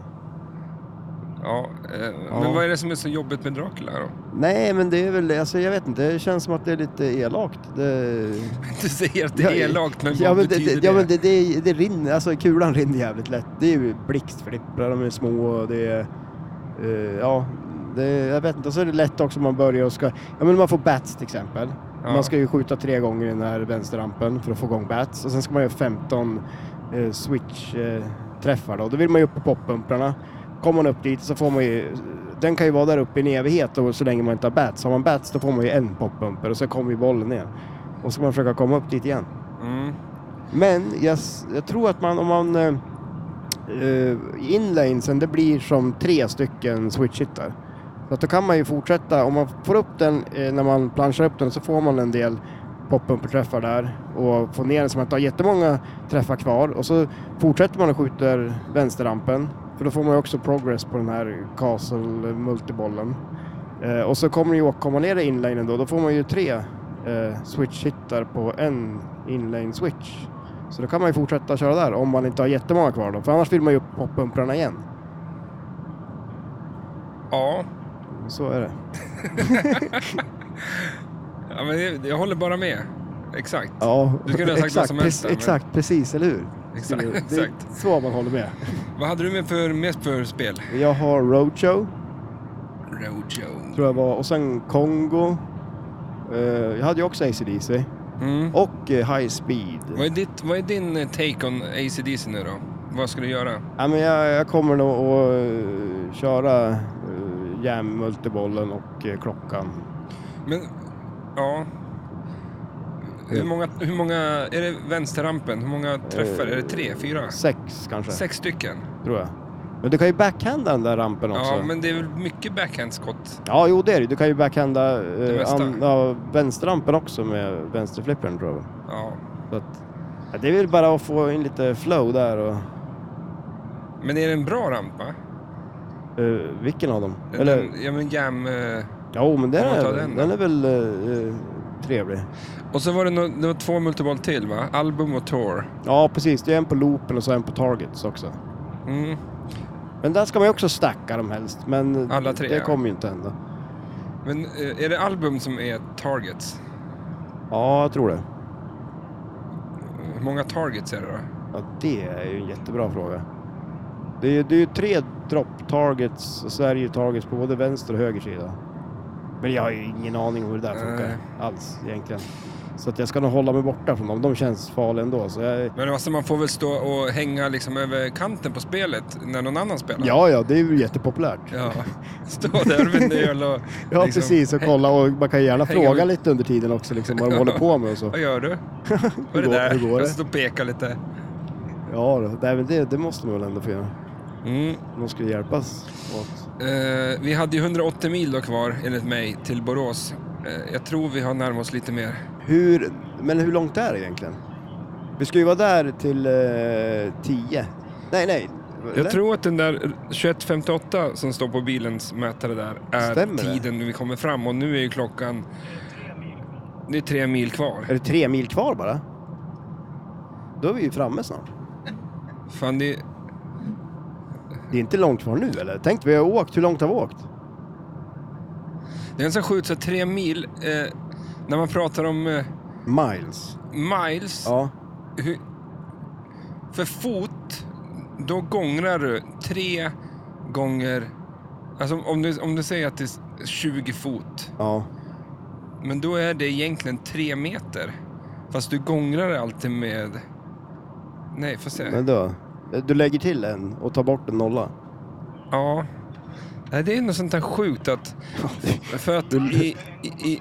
Speaker 1: Ja, eh, Men vad är det som är så jobbigt med Dracula då? *laughs*
Speaker 2: Nej, men det är väl... Alltså, jag vet inte. Det känns som att det är lite elakt. Det...
Speaker 1: Du säger att det är elakt, men vad
Speaker 2: ja, men det,
Speaker 1: betyder
Speaker 2: det? Ja, men det, det, det rinner, alltså kulan rinner jävligt lätt. Det är ju blixtflipprar, de är små och det är, eh, ja, det, jag vet inte. Och så är det lätt också om man börjar och ska, ja men man får bats till exempel.
Speaker 1: Ja.
Speaker 2: Man ska ju skjuta tre gånger i den här vänsterrampen för att få igång bats och sen ska man göra 15 eh, switch-träffar då. Då vill man ju upp på poppumprarna. Kommer man upp dit så får man ju den kan ju vara där uppe i en evighet och så länge man inte har bats. Har man bats då får man ju en poppumper och så kommer ju bollen ner. Och så ska man försöka komma upp dit igen.
Speaker 1: Mm.
Speaker 2: Men jag, s- jag tror att man om man eh, eh, inlanesen det blir som tre stycken switchhittar. Så att då kan man ju fortsätta, om man får upp den eh, när man planschar upp den så får man en del poppumperträffar där och får ner den så man inte har jättemånga träffar kvar och så fortsätter man och skjuter vänsterrampen för då får man ju också progress på den här castle multibollen. Eh, och så kommer det ju att komma ner i inlanen då, då får man ju tre eh, switch-hittar på en inlane switch. Så då kan man ju fortsätta köra där om man inte har jättemånga kvar då, för annars vill man ju upp poppumprarna igen.
Speaker 1: Ja,
Speaker 2: Så är det.
Speaker 1: ja men jag, jag håller bara med. Exakt.
Speaker 2: Ja,
Speaker 1: Du skulle ha sagt vad
Speaker 2: exakt,
Speaker 1: som helst
Speaker 2: prec-
Speaker 1: där, men-
Speaker 2: exakt, precis, eller hur?
Speaker 1: Exakt,
Speaker 2: Det är
Speaker 1: exakt.
Speaker 2: så man håller med.
Speaker 1: Vad hade du med för, mest för spel?
Speaker 2: Jag har Roadshow,
Speaker 1: Rojo.
Speaker 2: tror jag var, och sen Kongo. Eh, jag hade ju också ACDC.
Speaker 1: Mm.
Speaker 2: Och eh, High Speed.
Speaker 1: Vad, är ditt, vad är din eh, take on ACDC nu då? Vad ska du göra?
Speaker 2: Ja, men jag, jag kommer nog att eh, köra uh, jam, multibollen och eh, klockan.
Speaker 1: Men, ja. Hur många, hur många, är det vänsterrampen? Hur många träffar? Är det tre, fyra?
Speaker 2: eh, Sex kanske,
Speaker 1: Sex stycken?
Speaker 2: tror jag. Men du kan ju backhanda den där rampen också.
Speaker 1: Ja, men det är väl mycket backhandskott.
Speaker 2: Ja, jo det är det. Du kan ju backhanda
Speaker 1: Det
Speaker 2: uh,
Speaker 1: mesta.
Speaker 2: an, ja, vänsterrampen också med vänsterflippern tror jag.
Speaker 1: Ja.
Speaker 2: Så att, ja, det är väl bara att få in lite flow där. Och,
Speaker 1: Men är det en bra ramp, va?
Speaker 2: eh, vilken av dem? Eller,
Speaker 1: Den, ja, men jam... eh,
Speaker 2: jo, men den
Speaker 1: Om man tar
Speaker 2: är,
Speaker 1: den
Speaker 2: den,
Speaker 1: då.
Speaker 2: är väl eh, trevlig.
Speaker 1: Och så var det, nå- det var två multiball till, va? Album och tour.
Speaker 2: Ja, precis. Det är en på loopen och så en på targets också.
Speaker 1: Mm.
Speaker 2: Men där ska man ju också stacka dem helst. Men
Speaker 1: Alla tre,
Speaker 2: det
Speaker 1: ja.
Speaker 2: kommer ju inte hända.
Speaker 1: Men eh, är det album som är targets?
Speaker 2: Ja, jag tror det.
Speaker 1: Hur många targets är det då?
Speaker 2: Ja, det är ju en jättebra fråga. Det är ju det är ju tre drop targets och så är det ju targets på både vänster och höger sida. Men jag har ju ingen aning om hur det där funkar
Speaker 1: Nej.
Speaker 2: alls egentligen. Så att jag ska nog hålla mig borta från dem. De känns farliga ändå. Så jag...
Speaker 1: Men alltså man får väl stå och hänga liksom över kanten på spelet när någon annan spelar?
Speaker 2: Ja, ja, det är ju jättepopulärt. Ja,
Speaker 1: ja. *laughs* Stå där
Speaker 2: *laughs*
Speaker 1: med en öl och... liksom,
Speaker 2: precis. Och kolla och man kan ju gärna
Speaker 1: Hänga
Speaker 2: fråga
Speaker 1: med-
Speaker 2: lite under tiden också liksom, vad de håller på med
Speaker 1: *laughs*
Speaker 2: och så.
Speaker 1: Vad gör
Speaker 2: *laughs*
Speaker 1: du? Vad
Speaker 2: Hur
Speaker 1: är det
Speaker 2: går-
Speaker 1: där?
Speaker 2: hur går
Speaker 1: Jag
Speaker 2: det?
Speaker 1: står och pekar lite.
Speaker 2: Ja, då. Nej, men det, det måste man väl ändå få göra.
Speaker 1: Mm.
Speaker 2: De skulle hjälpas åt.
Speaker 1: Eh, vi hade ju 180 mil då kvar, enligt mig, till Borås. Eh, jag tror vi har närmat oss lite mer.
Speaker 2: Hur, men hur långt är det egentligen? Vi ska ju vara där till eh, 10. nej, nej. eller?
Speaker 1: Jag tror att den där 21.58 som står på bilens mätare där är
Speaker 2: Stämmer det?
Speaker 1: tiden vi kommer fram och nu är ju klockan... Det är tre mil kvar.
Speaker 2: Är det tre mil kvar bara? Då är vi ju framme snart.
Speaker 1: Fan, det...
Speaker 2: Det är inte långt kvar nu eller? Tänk, vi har åkt. Hur långt har vi åkt?
Speaker 1: Det är ganska sjukt, så tre mil... Eh, när man pratar om eh,
Speaker 2: Miles.
Speaker 1: miles,
Speaker 2: Ja.
Speaker 1: hur, för fot, då gångrar du tre gånger... Alltså om du, om du säger att det är 20 fot,
Speaker 2: Ja.
Speaker 1: men då är det egentligen tre meter. Fast du gångrar alltid med... Nej, får se.
Speaker 2: Men då. Du lägger till en och tar bort en nolla.
Speaker 1: Ja. Nej, det är något sånt där sjukt
Speaker 2: *laughs*
Speaker 1: att... För att i... i, i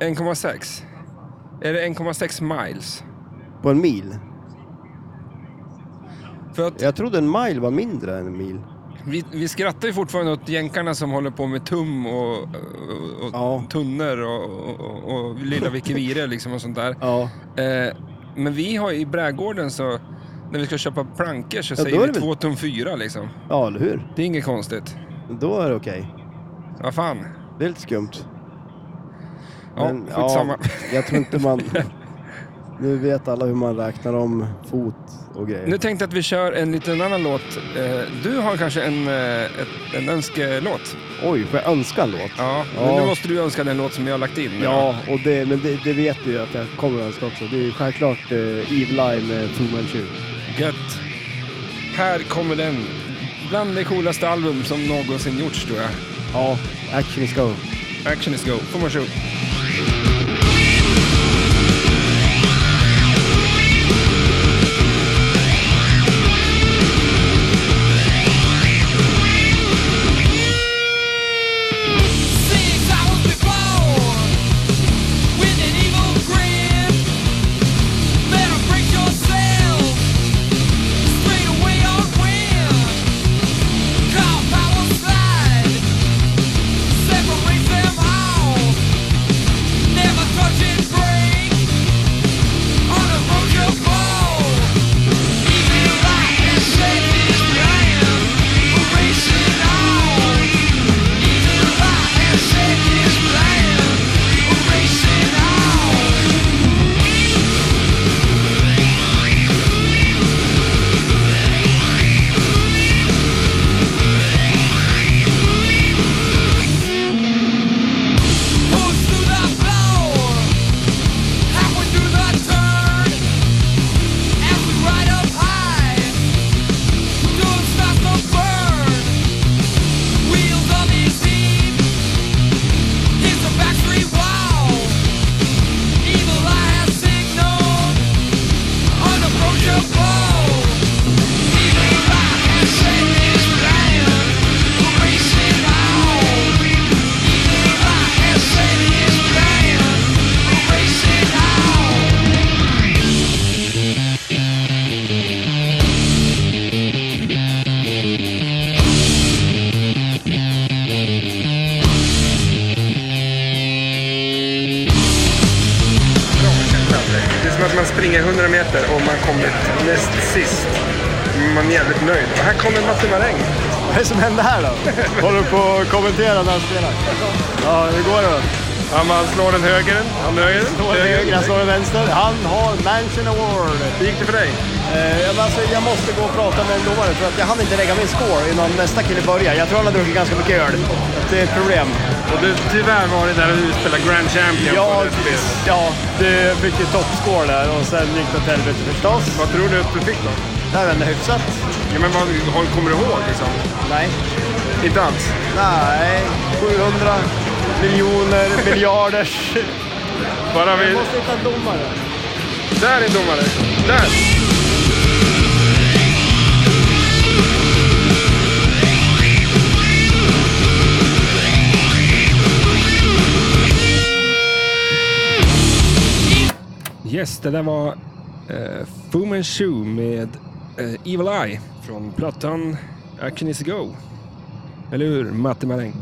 Speaker 1: 1,6. Är det 1,6 miles?
Speaker 2: på en mil.
Speaker 1: För att
Speaker 2: Jag trodde en mile var mindre än en mil.
Speaker 1: vi, vi skrattar ju fortfarande åt jänkarna som håller på med tum och, och, och
Speaker 2: Ja.
Speaker 1: tunnor och, och, och, och lilla Vikivire liksom och sånt där.
Speaker 2: Ja.
Speaker 1: Eh, men vi har i brädgården så, när vi ska köpa plankor så
Speaker 2: då
Speaker 1: säger
Speaker 2: är
Speaker 1: vi
Speaker 2: det väl-
Speaker 1: två tum fyra liksom.
Speaker 2: Ja, eller hur?
Speaker 1: Det är inget konstigt.
Speaker 2: Då är det okej.
Speaker 1: Vad fan.
Speaker 2: Det är lite skumt.
Speaker 1: Ja, skitsamma.
Speaker 2: jag tror
Speaker 1: *laughs*
Speaker 2: inte man... Nu vet alla hur man räknar om fot och grejer.
Speaker 1: Nu tänkte jag att vi kör en liten annan låt. Eh, du har kanske en, eh, ett- en önskelåt?
Speaker 2: Oj, får jag önska en låt?
Speaker 1: Ja, men
Speaker 2: Ja.
Speaker 1: nu måste du önska den låt som jag har lagt in.
Speaker 2: Ja, och det, men det, det vet du ju att jag kommer önska också. Det är ju självklart eh, Evil Eye med Fu Manchu.
Speaker 1: Gött. Här kommer den. Bland det coolaste album som någonsin gjorts tror jag.
Speaker 2: Ja, action is go.
Speaker 1: Action is go. Får man shoot.
Speaker 6: Since I was born with an evil grin, better break yourself straight away or win. Call power slide, separate them all. Never touch and break on a broken ball. Evil light and shaping iron, erasing all. Burn! Wheels on his team. Hits a factory wall. Evil eye has signaled unapproachable. Evil eye has set his plan. Erasing all. Evil eye has set his plan. Erasing all.
Speaker 1: Det är som att man springer 100 meter och man kommit näst sist. Man är jävligt nöjd. Och här kommer Matti Maräng.
Speaker 2: Vad är det som händer här då? Håller du på att kommentera när han spelar? Ja, hur går det då?
Speaker 1: Ja, man slår den höger. Han höger.
Speaker 2: Slår den höger, han slår den vänster. Han har Mansion Award.
Speaker 1: Hur gick det för dig?
Speaker 2: Eh, men alltså, jag måste gå och prata med en domare för att jag hann inte lägga min score innan nästa kille börjar. Jag tror han har druckit ganska mycket öl. Så att Det är ett problem.
Speaker 1: Och du tyvärr varit där och spelat Grand Champion
Speaker 2: Ja,
Speaker 1: på det spelet.
Speaker 2: ja, du fick ju toppscore där och sen gick det åt helvete förstås.
Speaker 1: Vad tror du att du fick då?
Speaker 2: Nej men hyfsat.
Speaker 1: Ja, men vad vad kommer du ihåg liksom?
Speaker 2: Nej.
Speaker 1: Inte alls.
Speaker 2: Nej, 700 miljoner miljarders.
Speaker 1: Bara vi...
Speaker 2: hitta en domare.
Speaker 1: Där är domare. Där! Yes, det där var eh, Fu Manchu med eh, Evil Eye från plattan Action is a go. Eller hur, Matte Maräng?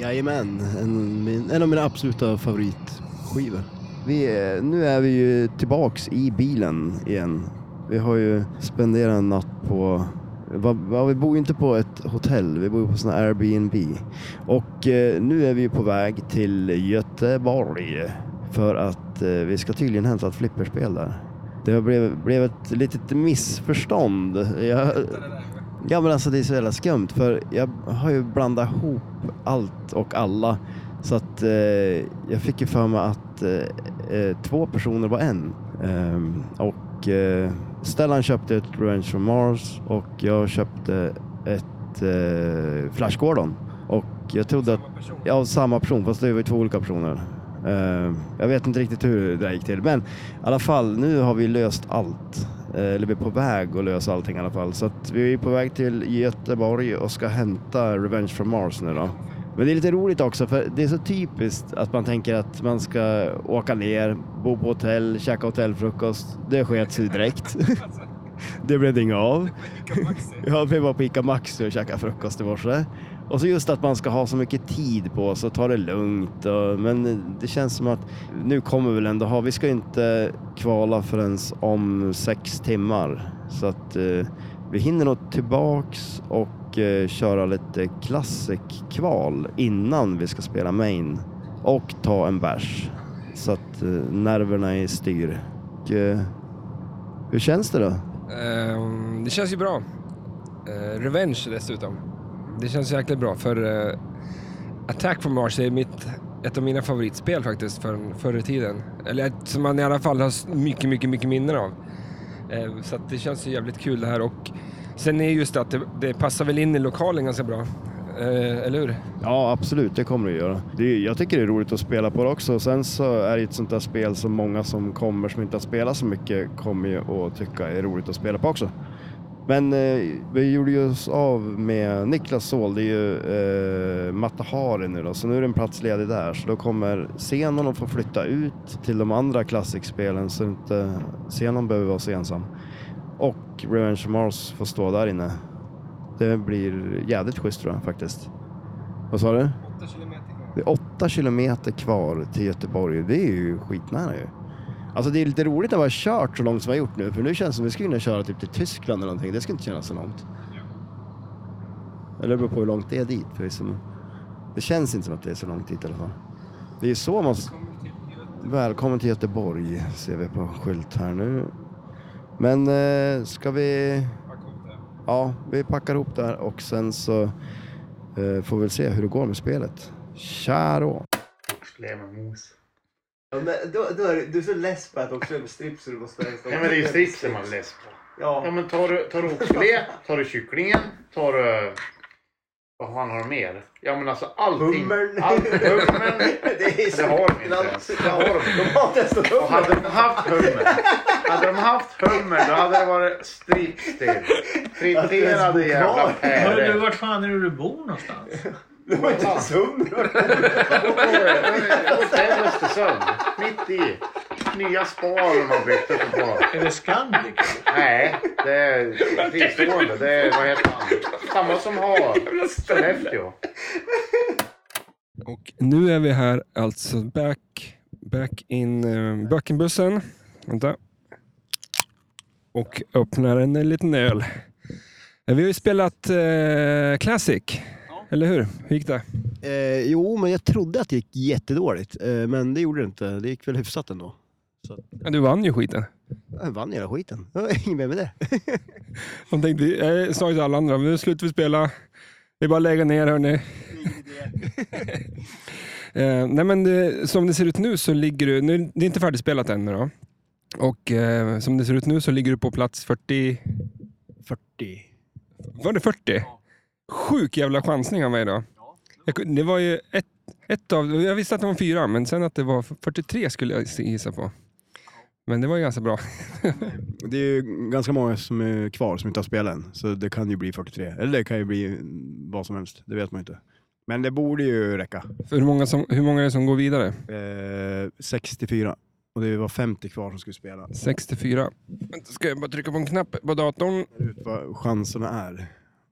Speaker 2: Jajamän, en, min, en av mina absoluta favoritskivor. Vi, är- nu är vi ju tillbaks i bilen igen. Vi har ju spenderat en natt på va, va, vi bor ju inte på ett hotell, vi bor ju på såna Airbnb. Och eh, nu är vi ju på väg till Göteborg för att eh, vi ska tydligen hämta ett flipperspel där. Det blev, blev ett litet missförstånd. Jag, Ja men alltså det är så jävla skumt för jag har ju blandat ihop allt och alla. Så att eh, jag fick ju för mig att eh, eh, två personer var en. Ehm, och eh, Stellan köpte ett Revenge from Mars och jag köpte ett eh, Flash Gordon. Och jag trodde att... Ja, samma person fast det var ju två olika personer. Ehm, jag vet inte riktigt hur det här gick till men i alla fall nu har vi löst allt. Eh, Eller vi är på väg att lösa allting i alla fall. Så att vi är på väg till Göteborg och ska hämta Revenge from Mars nu då. Men det är lite roligt också för det är så typiskt att man tänker att man ska åka ner, bo på hotell, käka hotellfrukost. Det sket sig direkt. *laughs* det blev det inget av. Jag blev bara på Ica Maxi och käkade frukost i morse. Och så just att man ska ha så mycket tid på sig och ta det lugnt. Och, men det känns som att nu kommer vi väl ändå ha, vi ska inte kvala förrän om sex timmar. Så att eh, vi hinner nog tillbaks och eh, köra lite classic-kval innan vi ska spela main. Och ta en bärs. Så att eh, nerverna är i styr. Och, eh, hur känns det då?
Speaker 1: Ehm, det känns ju bra. Eh, Revenge dessutom. Det känns jäkligt bra för eh, Attack from Mars är mitt, ett av mina favoritspel faktiskt från förr i tiden. Eller ett som man i alla fall har s- mycket, mycket, mycket minnen av. Eh, så att det känns ju jävligt kul det här och sen är just att det, det passar väl in i lokalen ganska bra. Eh, eller hur?
Speaker 2: Ja, absolut, det kommer det att göra. Det är, jag tycker det är roligt att spela på det också. Sen så är det ett sånt där spel som många som kommer som inte har spelat så mycket kommer ju att tycka är roligt att spela på också. Men eh, vi gjorde ju oss av med Niklas Sol, det är ju eh, Matahari nu då, så nu är det en plats ledig där. Så då kommer Zenon att få flytta ut till de andra klassikspelen så inte Zenon behöver vara så ensam. Och Revenge of Mars får stå där inne. Det blir jävligt schysst tror jag faktiskt. Vad sa du? Det är åtta kilometer kvar till Göteborg. Det är ju skitnära ju. Alltså det är lite roligt att vi har kört så långt som vi har gjort nu. För nu känns det som att vi skulle kunna köra typ till Tyskland eller någonting. Det skulle inte kännas så långt. Eller det beror på hur långt det är dit. Förvisso. men Det känns inte som att det är så långt dit i alla fall. Det är så man... Välkommen till Göteborg ser vi på skylt här nu. Men eh, ska vi... Ja, vi packar ihop där och sen så... Eh, får väl se hur det går med spelet. Tja då!
Speaker 7: Levermos.
Speaker 8: Ja, men då, då är du, du är så less på att också köper strips så du måste äta.
Speaker 7: Nej men det är ju stripsen man läser på. Ja
Speaker 8: Ja,
Speaker 7: men tar du, tar du oxfilé, tar du kycklingen, tar du... Vad fan har de mer? Ja men alltså allting.
Speaker 8: Hummern.
Speaker 7: Allt,
Speaker 8: *laughs*
Speaker 7: hummern.
Speaker 8: det är så...
Speaker 7: Det har de inte ens. Det har de
Speaker 8: De
Speaker 7: inte.
Speaker 8: har testat upp
Speaker 7: Och hade de haft hummer. Hade de haft hummer då hade det varit strips till. Friterade jävla
Speaker 4: Hörru du,
Speaker 7: päron.
Speaker 4: vart fan är det du bor någonstans?
Speaker 8: Det var inte ens hummer.
Speaker 7: Hotell Östersund. Mitt i. Nya spar de har byggt uppe på.
Speaker 4: Är det Scandic?
Speaker 7: Nej, det är fristående. Det är, vad heter han? Samma som har Sollefteå.
Speaker 1: Och nu är vi här alltså back, back in uh, Böckenbussen. Vänta. Och öppnar en, liten öl. Eh, Vi har ju spelat eh, Classic, eller hur? Hur gick det?
Speaker 2: Eh, jo, men jag trodde att det gick jättedåligt. Eh, men det gjorde det inte. Det gick väl hyfsat ändå.
Speaker 1: Ja, du vann ju skiten.
Speaker 2: Jag vann hela skiten. Jag är inget mer med det. *laughs*
Speaker 1: De tänkte, "Eh, jag sa ju till alla andra, men nu slutar vi spela. Det är bara att lägga ner hörni. *laughs* eh, nej men det, som det ser ut nu så ligger du, nu, det är inte färdigspelat ännu då. Och eh, som det ser ut nu så ligger du på plats 40,
Speaker 2: 40.
Speaker 1: var det 40? Sjuk jävla chansning av mig då. Jag, kunde- det var ju ett, ett av, jag visste att det var fyra, men sen att det var 43 skulle jag gissa på. Men det var ju ganska bra. *laughs*
Speaker 2: Det är ju ganska många som är kvar som inte har spelat än. Så det kan ju bli 43. Eller det kan ju bli vad som helst. Det vet man ju inte. Men det borde ju räcka.
Speaker 1: För hur många, som, hur många är det som går vidare?
Speaker 2: Eh, 64. Och det var 50 kvar som skulle spela.
Speaker 1: 64. Vänta, ska jag bara trycka på en knapp på datorn? *laughs*
Speaker 2: Ut vad chanserna är.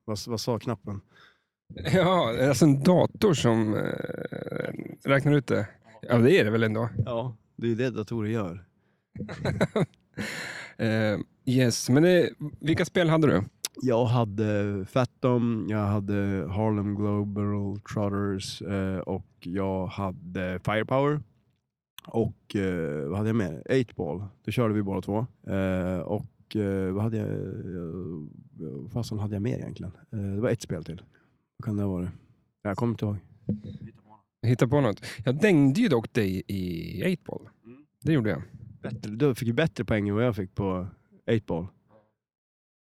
Speaker 2: Vad, vad sa knappen?
Speaker 1: Ja, alltså en dator som eh, räknar ut det. Ja, det är det väl ändå.
Speaker 2: Ja, det är ju det datorer gör.
Speaker 1: Eh, yes, men det, vilka spel hade du?
Speaker 2: Jag hade Fathom, jag hade Harlem Global Trotters eh, och jag hade Firepower. Och eh, vad hade jag mer? 8-ball. Det körde vi båda två. Eh, och eh, vad hade jag... eh, Vad fasen hade jag mer egentligen? Eh, det var ett spel till. Vad kan det ha varit? Jag kommer inte ihåg.
Speaker 1: Hitta på något. Jag dängde ju dock dig i 8-ball. Det gjorde jag.
Speaker 2: Bättre. Du fick ju bättre poäng än vad jag fick på 8-ball.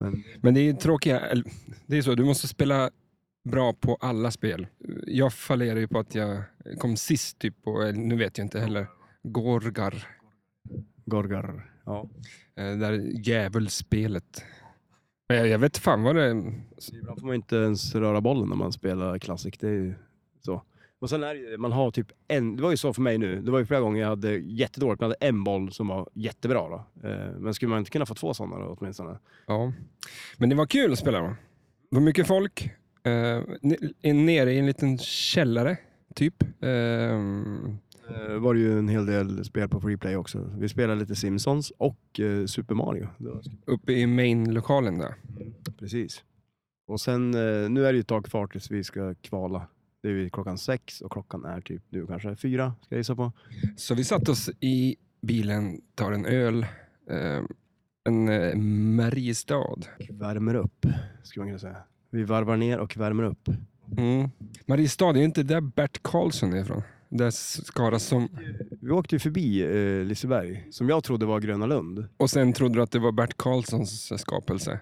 Speaker 2: Men
Speaker 1: Men det är tråkiga... eller, Det är så, du måste spela bra på alla spel. Jag fallerade ju på att jag kom sist typ på, eller nu vet jag inte heller, Gorgar.
Speaker 2: Gorgar. Ja.
Speaker 1: Eh, Det där djävulspelet. Men jag, jag vet fan vad det...
Speaker 2: Ibland får man inte ens röra bollen när man spelar Classic. Det är ju Så. Och sen är det ju- man har typ en, det var ju så för mig nu, det var ju flera gånger jag hade jättedåligt, man hade en boll som var jättebra då. Eh, Men skulle man inte kunna få två sådana då åtminstone?
Speaker 1: Ja. Men det var kul att spela. Det var mycket folk. Eh, n- är nere i en liten källare, typ. Eh,
Speaker 2: Eh, var det ju en hel del spel på Freeplay också. Vi spelade lite Simpsons och eh, Super Mario. Det var-
Speaker 1: uppe i main-lokalen där.
Speaker 2: Precis. Och sen, eh, nu är det ju ett tag kvar tills vi ska kvala. Det är ju klockan sex och klockan är typ nu kanske fyra, ska jag gissa på.
Speaker 1: Så vi satt oss i bilen, tar en öl. Eh, en eh, Mariestad.
Speaker 2: Värmer upp, skulle man kunna säga. Vi varvar ner och värmer upp.
Speaker 1: Mm. Mariestad, det är inte där Bert Karlsson är ifrån? Där Skara som...
Speaker 2: Vi åkte ju förbi eh, Liseberg, som jag trodde var Gröna Lund.
Speaker 1: Och sen trodde du att det var Bert Karlssons eh, skapelse?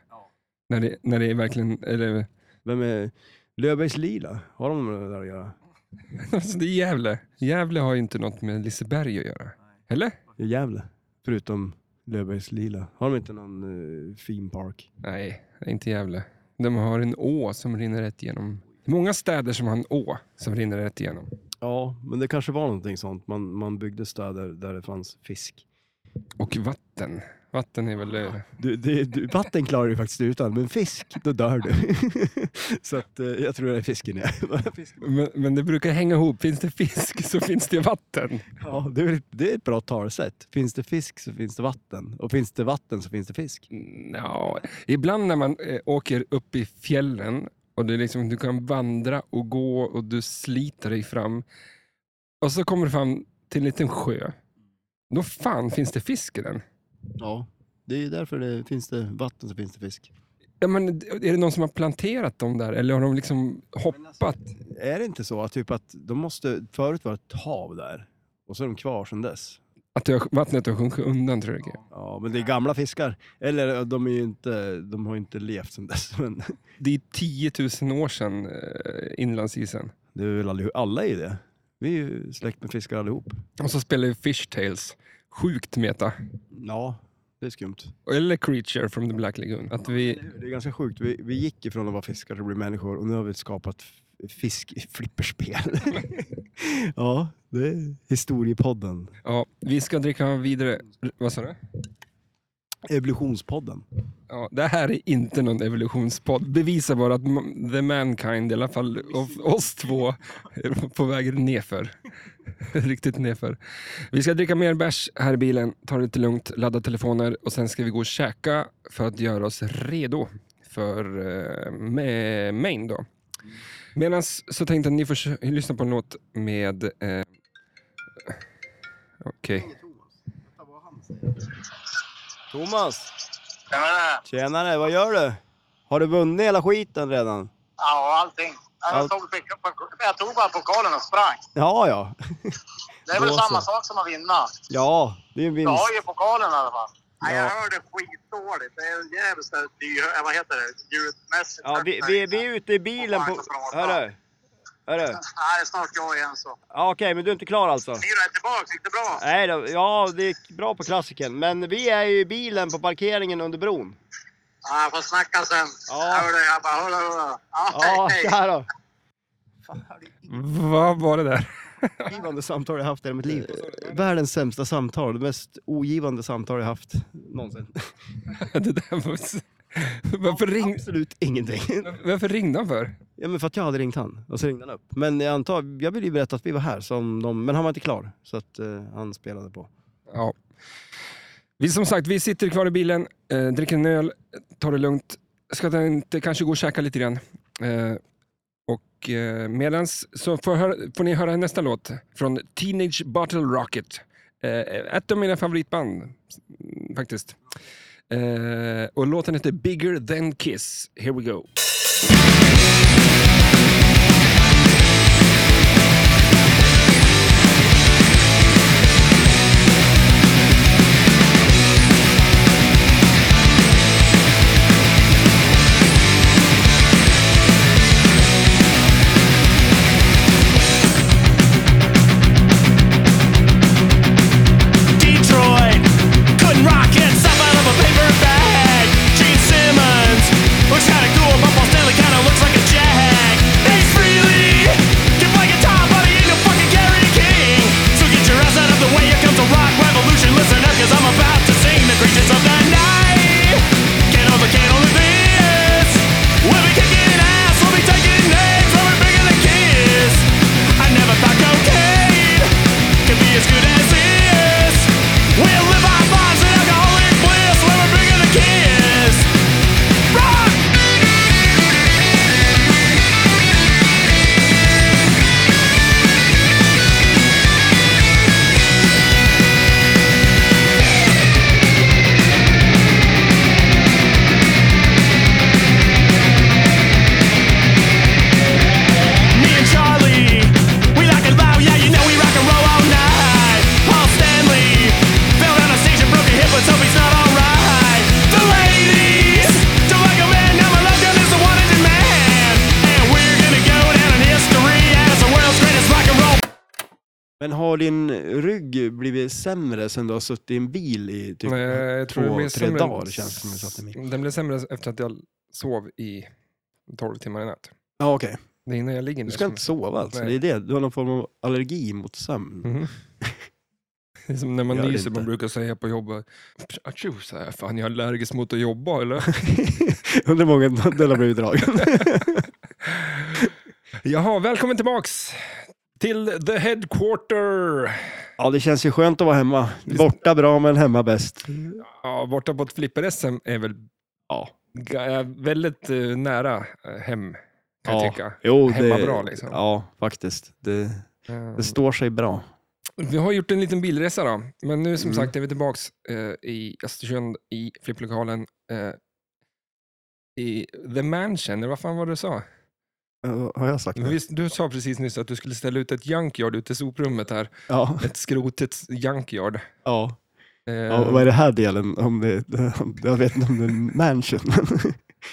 Speaker 1: När, det, när det är verkligen... Eller, *laughs*
Speaker 2: Vem är Löfbergs Lila? Har de med det där att göra?
Speaker 1: alltså det är Gävle. Gävle har ju inte något med Liseberg att göra. Eller?
Speaker 2: I Gävle? Förutom Löfbergs Lila. Har de inte någon eh, theme park?
Speaker 1: Nej, det är inte Gävle. De har en å som rinner rätt igenom. Många städer som har en å som rinner rätt igenom.
Speaker 2: Ja, men det kanske var någonting sånt. Man, man byggde städer där det fanns fisk.
Speaker 1: Och vatten. Vatten är väl... eh,
Speaker 2: Du, det, du, vatten klarar du faktiskt utan, men fisk, då dör du. *laughs* så att, eh, jag tror det är fisken är.
Speaker 1: Men, men det brukar hänga ihop. Finns det fisk så finns det vatten.
Speaker 2: *laughs* ja, det, är, ett- det är ett bra talesätt. Finns det fisk så finns det vatten. Och finns det vatten så finns det fisk.
Speaker 1: Ja, ibland när man eh, åker upp i fjällen och det är liksom, du kan vandra och gå och du sliter dig fram. Och så kommer du fram till en liten sjö. Då fan finns det fisk i den.
Speaker 2: Ja, det är ju därför det finns det vatten så finns det fisk.
Speaker 1: Ja, men, är det någon som har planterat dem där eller har de liksom hoppat?
Speaker 2: Är det inte så att, typ att de måste, förut var det ett hav där och så är de kvar sedan dess?
Speaker 1: Att det har, vattnet har sjunkit undan tror jag.
Speaker 2: Ja, men det är gamla fiskar. Eller de, är ju inte, de har ju inte levt sedan dess. *laughs* Men
Speaker 1: Det är 10 000 år sedan eh, inlandsisen.
Speaker 2: det är väl allihop, alla är ju det. Vi är ju släkt med fiskar allihop.
Speaker 1: Och så spelar vi Fish Tales. Sjukt meta.
Speaker 2: Ja, det är skumt.
Speaker 1: Eller Creature from the Black Lagoon. Att vi,
Speaker 2: Det är ganska sjukt. Vi, vi gick ifrån att vara fiskar till att bli människor och nu har vi skapat f- fiskflipperspel. *laughs* ja, det är historiepodden.
Speaker 1: ja, vi ska dricka vidare. Vad sa du?
Speaker 2: Evolutionspodden.
Speaker 1: Ja, det här är inte någon evolutionspodd. Det visar bara att ma- the mankind, i alla fall of oss två, är på väg nerför. *laughs* Riktigt nerför. Vi ska dricka mer bärs här i bilen, ta det lite lugnt, ladda telefoner och sen ska vi gå och käka för att göra oss redo för eh, ma- main då. Medan så tänkte jag att ni får kö- lyssna på en låt med... Eh, Okej.
Speaker 2: Thomas! Tjenare, vad gör du? Har du vunnit hela skiten redan?
Speaker 4: Ja, allting.
Speaker 2: Allt.
Speaker 4: Jag tog, jag tog bara pokalen och sprang.
Speaker 2: Ja, ja.
Speaker 4: Det är väl
Speaker 2: Då så.
Speaker 4: samma sak som att vinna.
Speaker 2: Ja, *laughs* det är en
Speaker 4: Jag har
Speaker 2: vinst.
Speaker 4: ju pokalen i alla fall. Nej,
Speaker 2: Ja.
Speaker 4: jag hörde skitdåligt. Det är en jävla så här dy- eh, vad heter det, ljudmässigt.
Speaker 2: Ja, vi, vi, vi är ute i bilen på... Hörru! Hörru!
Speaker 4: Nej, det är snart jag igen så.
Speaker 2: Ja, Okej, men du är inte klar alltså?
Speaker 4: Ni då, är tillbaka. Gick det bra?
Speaker 2: Nej då, ja det gick bra på klassiken. Men vi är ju i bilen på parkeringen under bron.
Speaker 4: Ja, jag får snacka sen.
Speaker 2: Ja.
Speaker 4: Hörde, jag bara, hörru, hörru.
Speaker 2: Ja, tja då!
Speaker 1: Vad var det där?
Speaker 2: Givande samtal jag haft i hela mitt liv. Världens sämsta samtal. Det mest ogivande samtal jag haft någonsin. *laughs*
Speaker 1: *laughs* det där var... s- Varför, ring,
Speaker 2: Absolut ingenting.
Speaker 1: varför ringde han för?
Speaker 2: Ja, men för att jag hade ringt han. Och så ringde han upp. Men jag antar, jag ville ju berätta att vi var här. Som de, men han var inte klar. Så att eh, han spelade på.
Speaker 1: Ja. Vi som sagt, vi sitter kvar i bilen, eh, dricker en öl, tar det lugnt. Ska den inte kanske gå och käka lite grann. Eh, och eh, medans så får, hör, får ni höra nästa låt från Teenage Bottle Rocket. Eh, ett av mina favoritband mm, faktiskt. Eh, och låten heter Bigger than Kiss. Here we go.
Speaker 9: Detroit. Couldn't rock it, stop out of a paper bag. Gene Simmons was kinda cool, but for
Speaker 2: Men har din rygg blivit sämre sen du har suttit i en bil i typ
Speaker 1: Nej, jag tror det
Speaker 2: två,
Speaker 1: blev
Speaker 2: tre
Speaker 1: sämre-
Speaker 2: dagar känns det som jag satt i min.
Speaker 1: Den blev sämre efter att jag sov i 12 timmar i natt.
Speaker 2: Ja okej,
Speaker 1: Det är innan jag ligger nu.
Speaker 2: du ska
Speaker 1: som-
Speaker 2: inte sova alltså.
Speaker 1: Nej.
Speaker 2: Det är det, du har någon form av allergi mot sömn.
Speaker 1: Mhm. Det är som när man
Speaker 2: Gör det
Speaker 1: nyser,
Speaker 2: inte.
Speaker 1: man brukar säga på jobbet. Atjo, så här, fan jag är allergisk mot att jobba eller?
Speaker 2: *laughs*
Speaker 1: *laughs*
Speaker 2: Undrar hur många den har blivit dragen.
Speaker 1: Jaha, välkommen tillbaks till the headquarter.
Speaker 2: ja det känns ju skönt att vara hemma. Borta bra men hemma bäst.
Speaker 1: Ja, borta på ett flipper-SM är väl
Speaker 2: Ja.
Speaker 1: ga- är väldigt eh, nära eh, hem, kan
Speaker 2: Ja.
Speaker 1: jag tycka.
Speaker 2: Jo,
Speaker 1: Hemma
Speaker 2: det,
Speaker 1: bra, liksom.
Speaker 2: Ja, faktiskt. Det,
Speaker 1: Eh,
Speaker 2: det står sig bra.
Speaker 1: Vi har gjort en liten bilresa då, men nu som
Speaker 2: Mm.
Speaker 1: sagt är vi tillbaks eh, i Östersund i flipplokalen. Eh, i The Mansion, eller vad fan var det du sa?
Speaker 2: Ja, Har jag sagt
Speaker 1: Men
Speaker 2: det?
Speaker 1: Visst, du sa precis nyss att du skulle ställa ut ett junkyard ute i soprummet här.
Speaker 2: Ja.
Speaker 1: Ett skrotigt junkyard.
Speaker 2: ja.
Speaker 1: Eh,
Speaker 2: Ja, vad är det här delen? Om det, *laughs* jag vet inte om det är en mansion.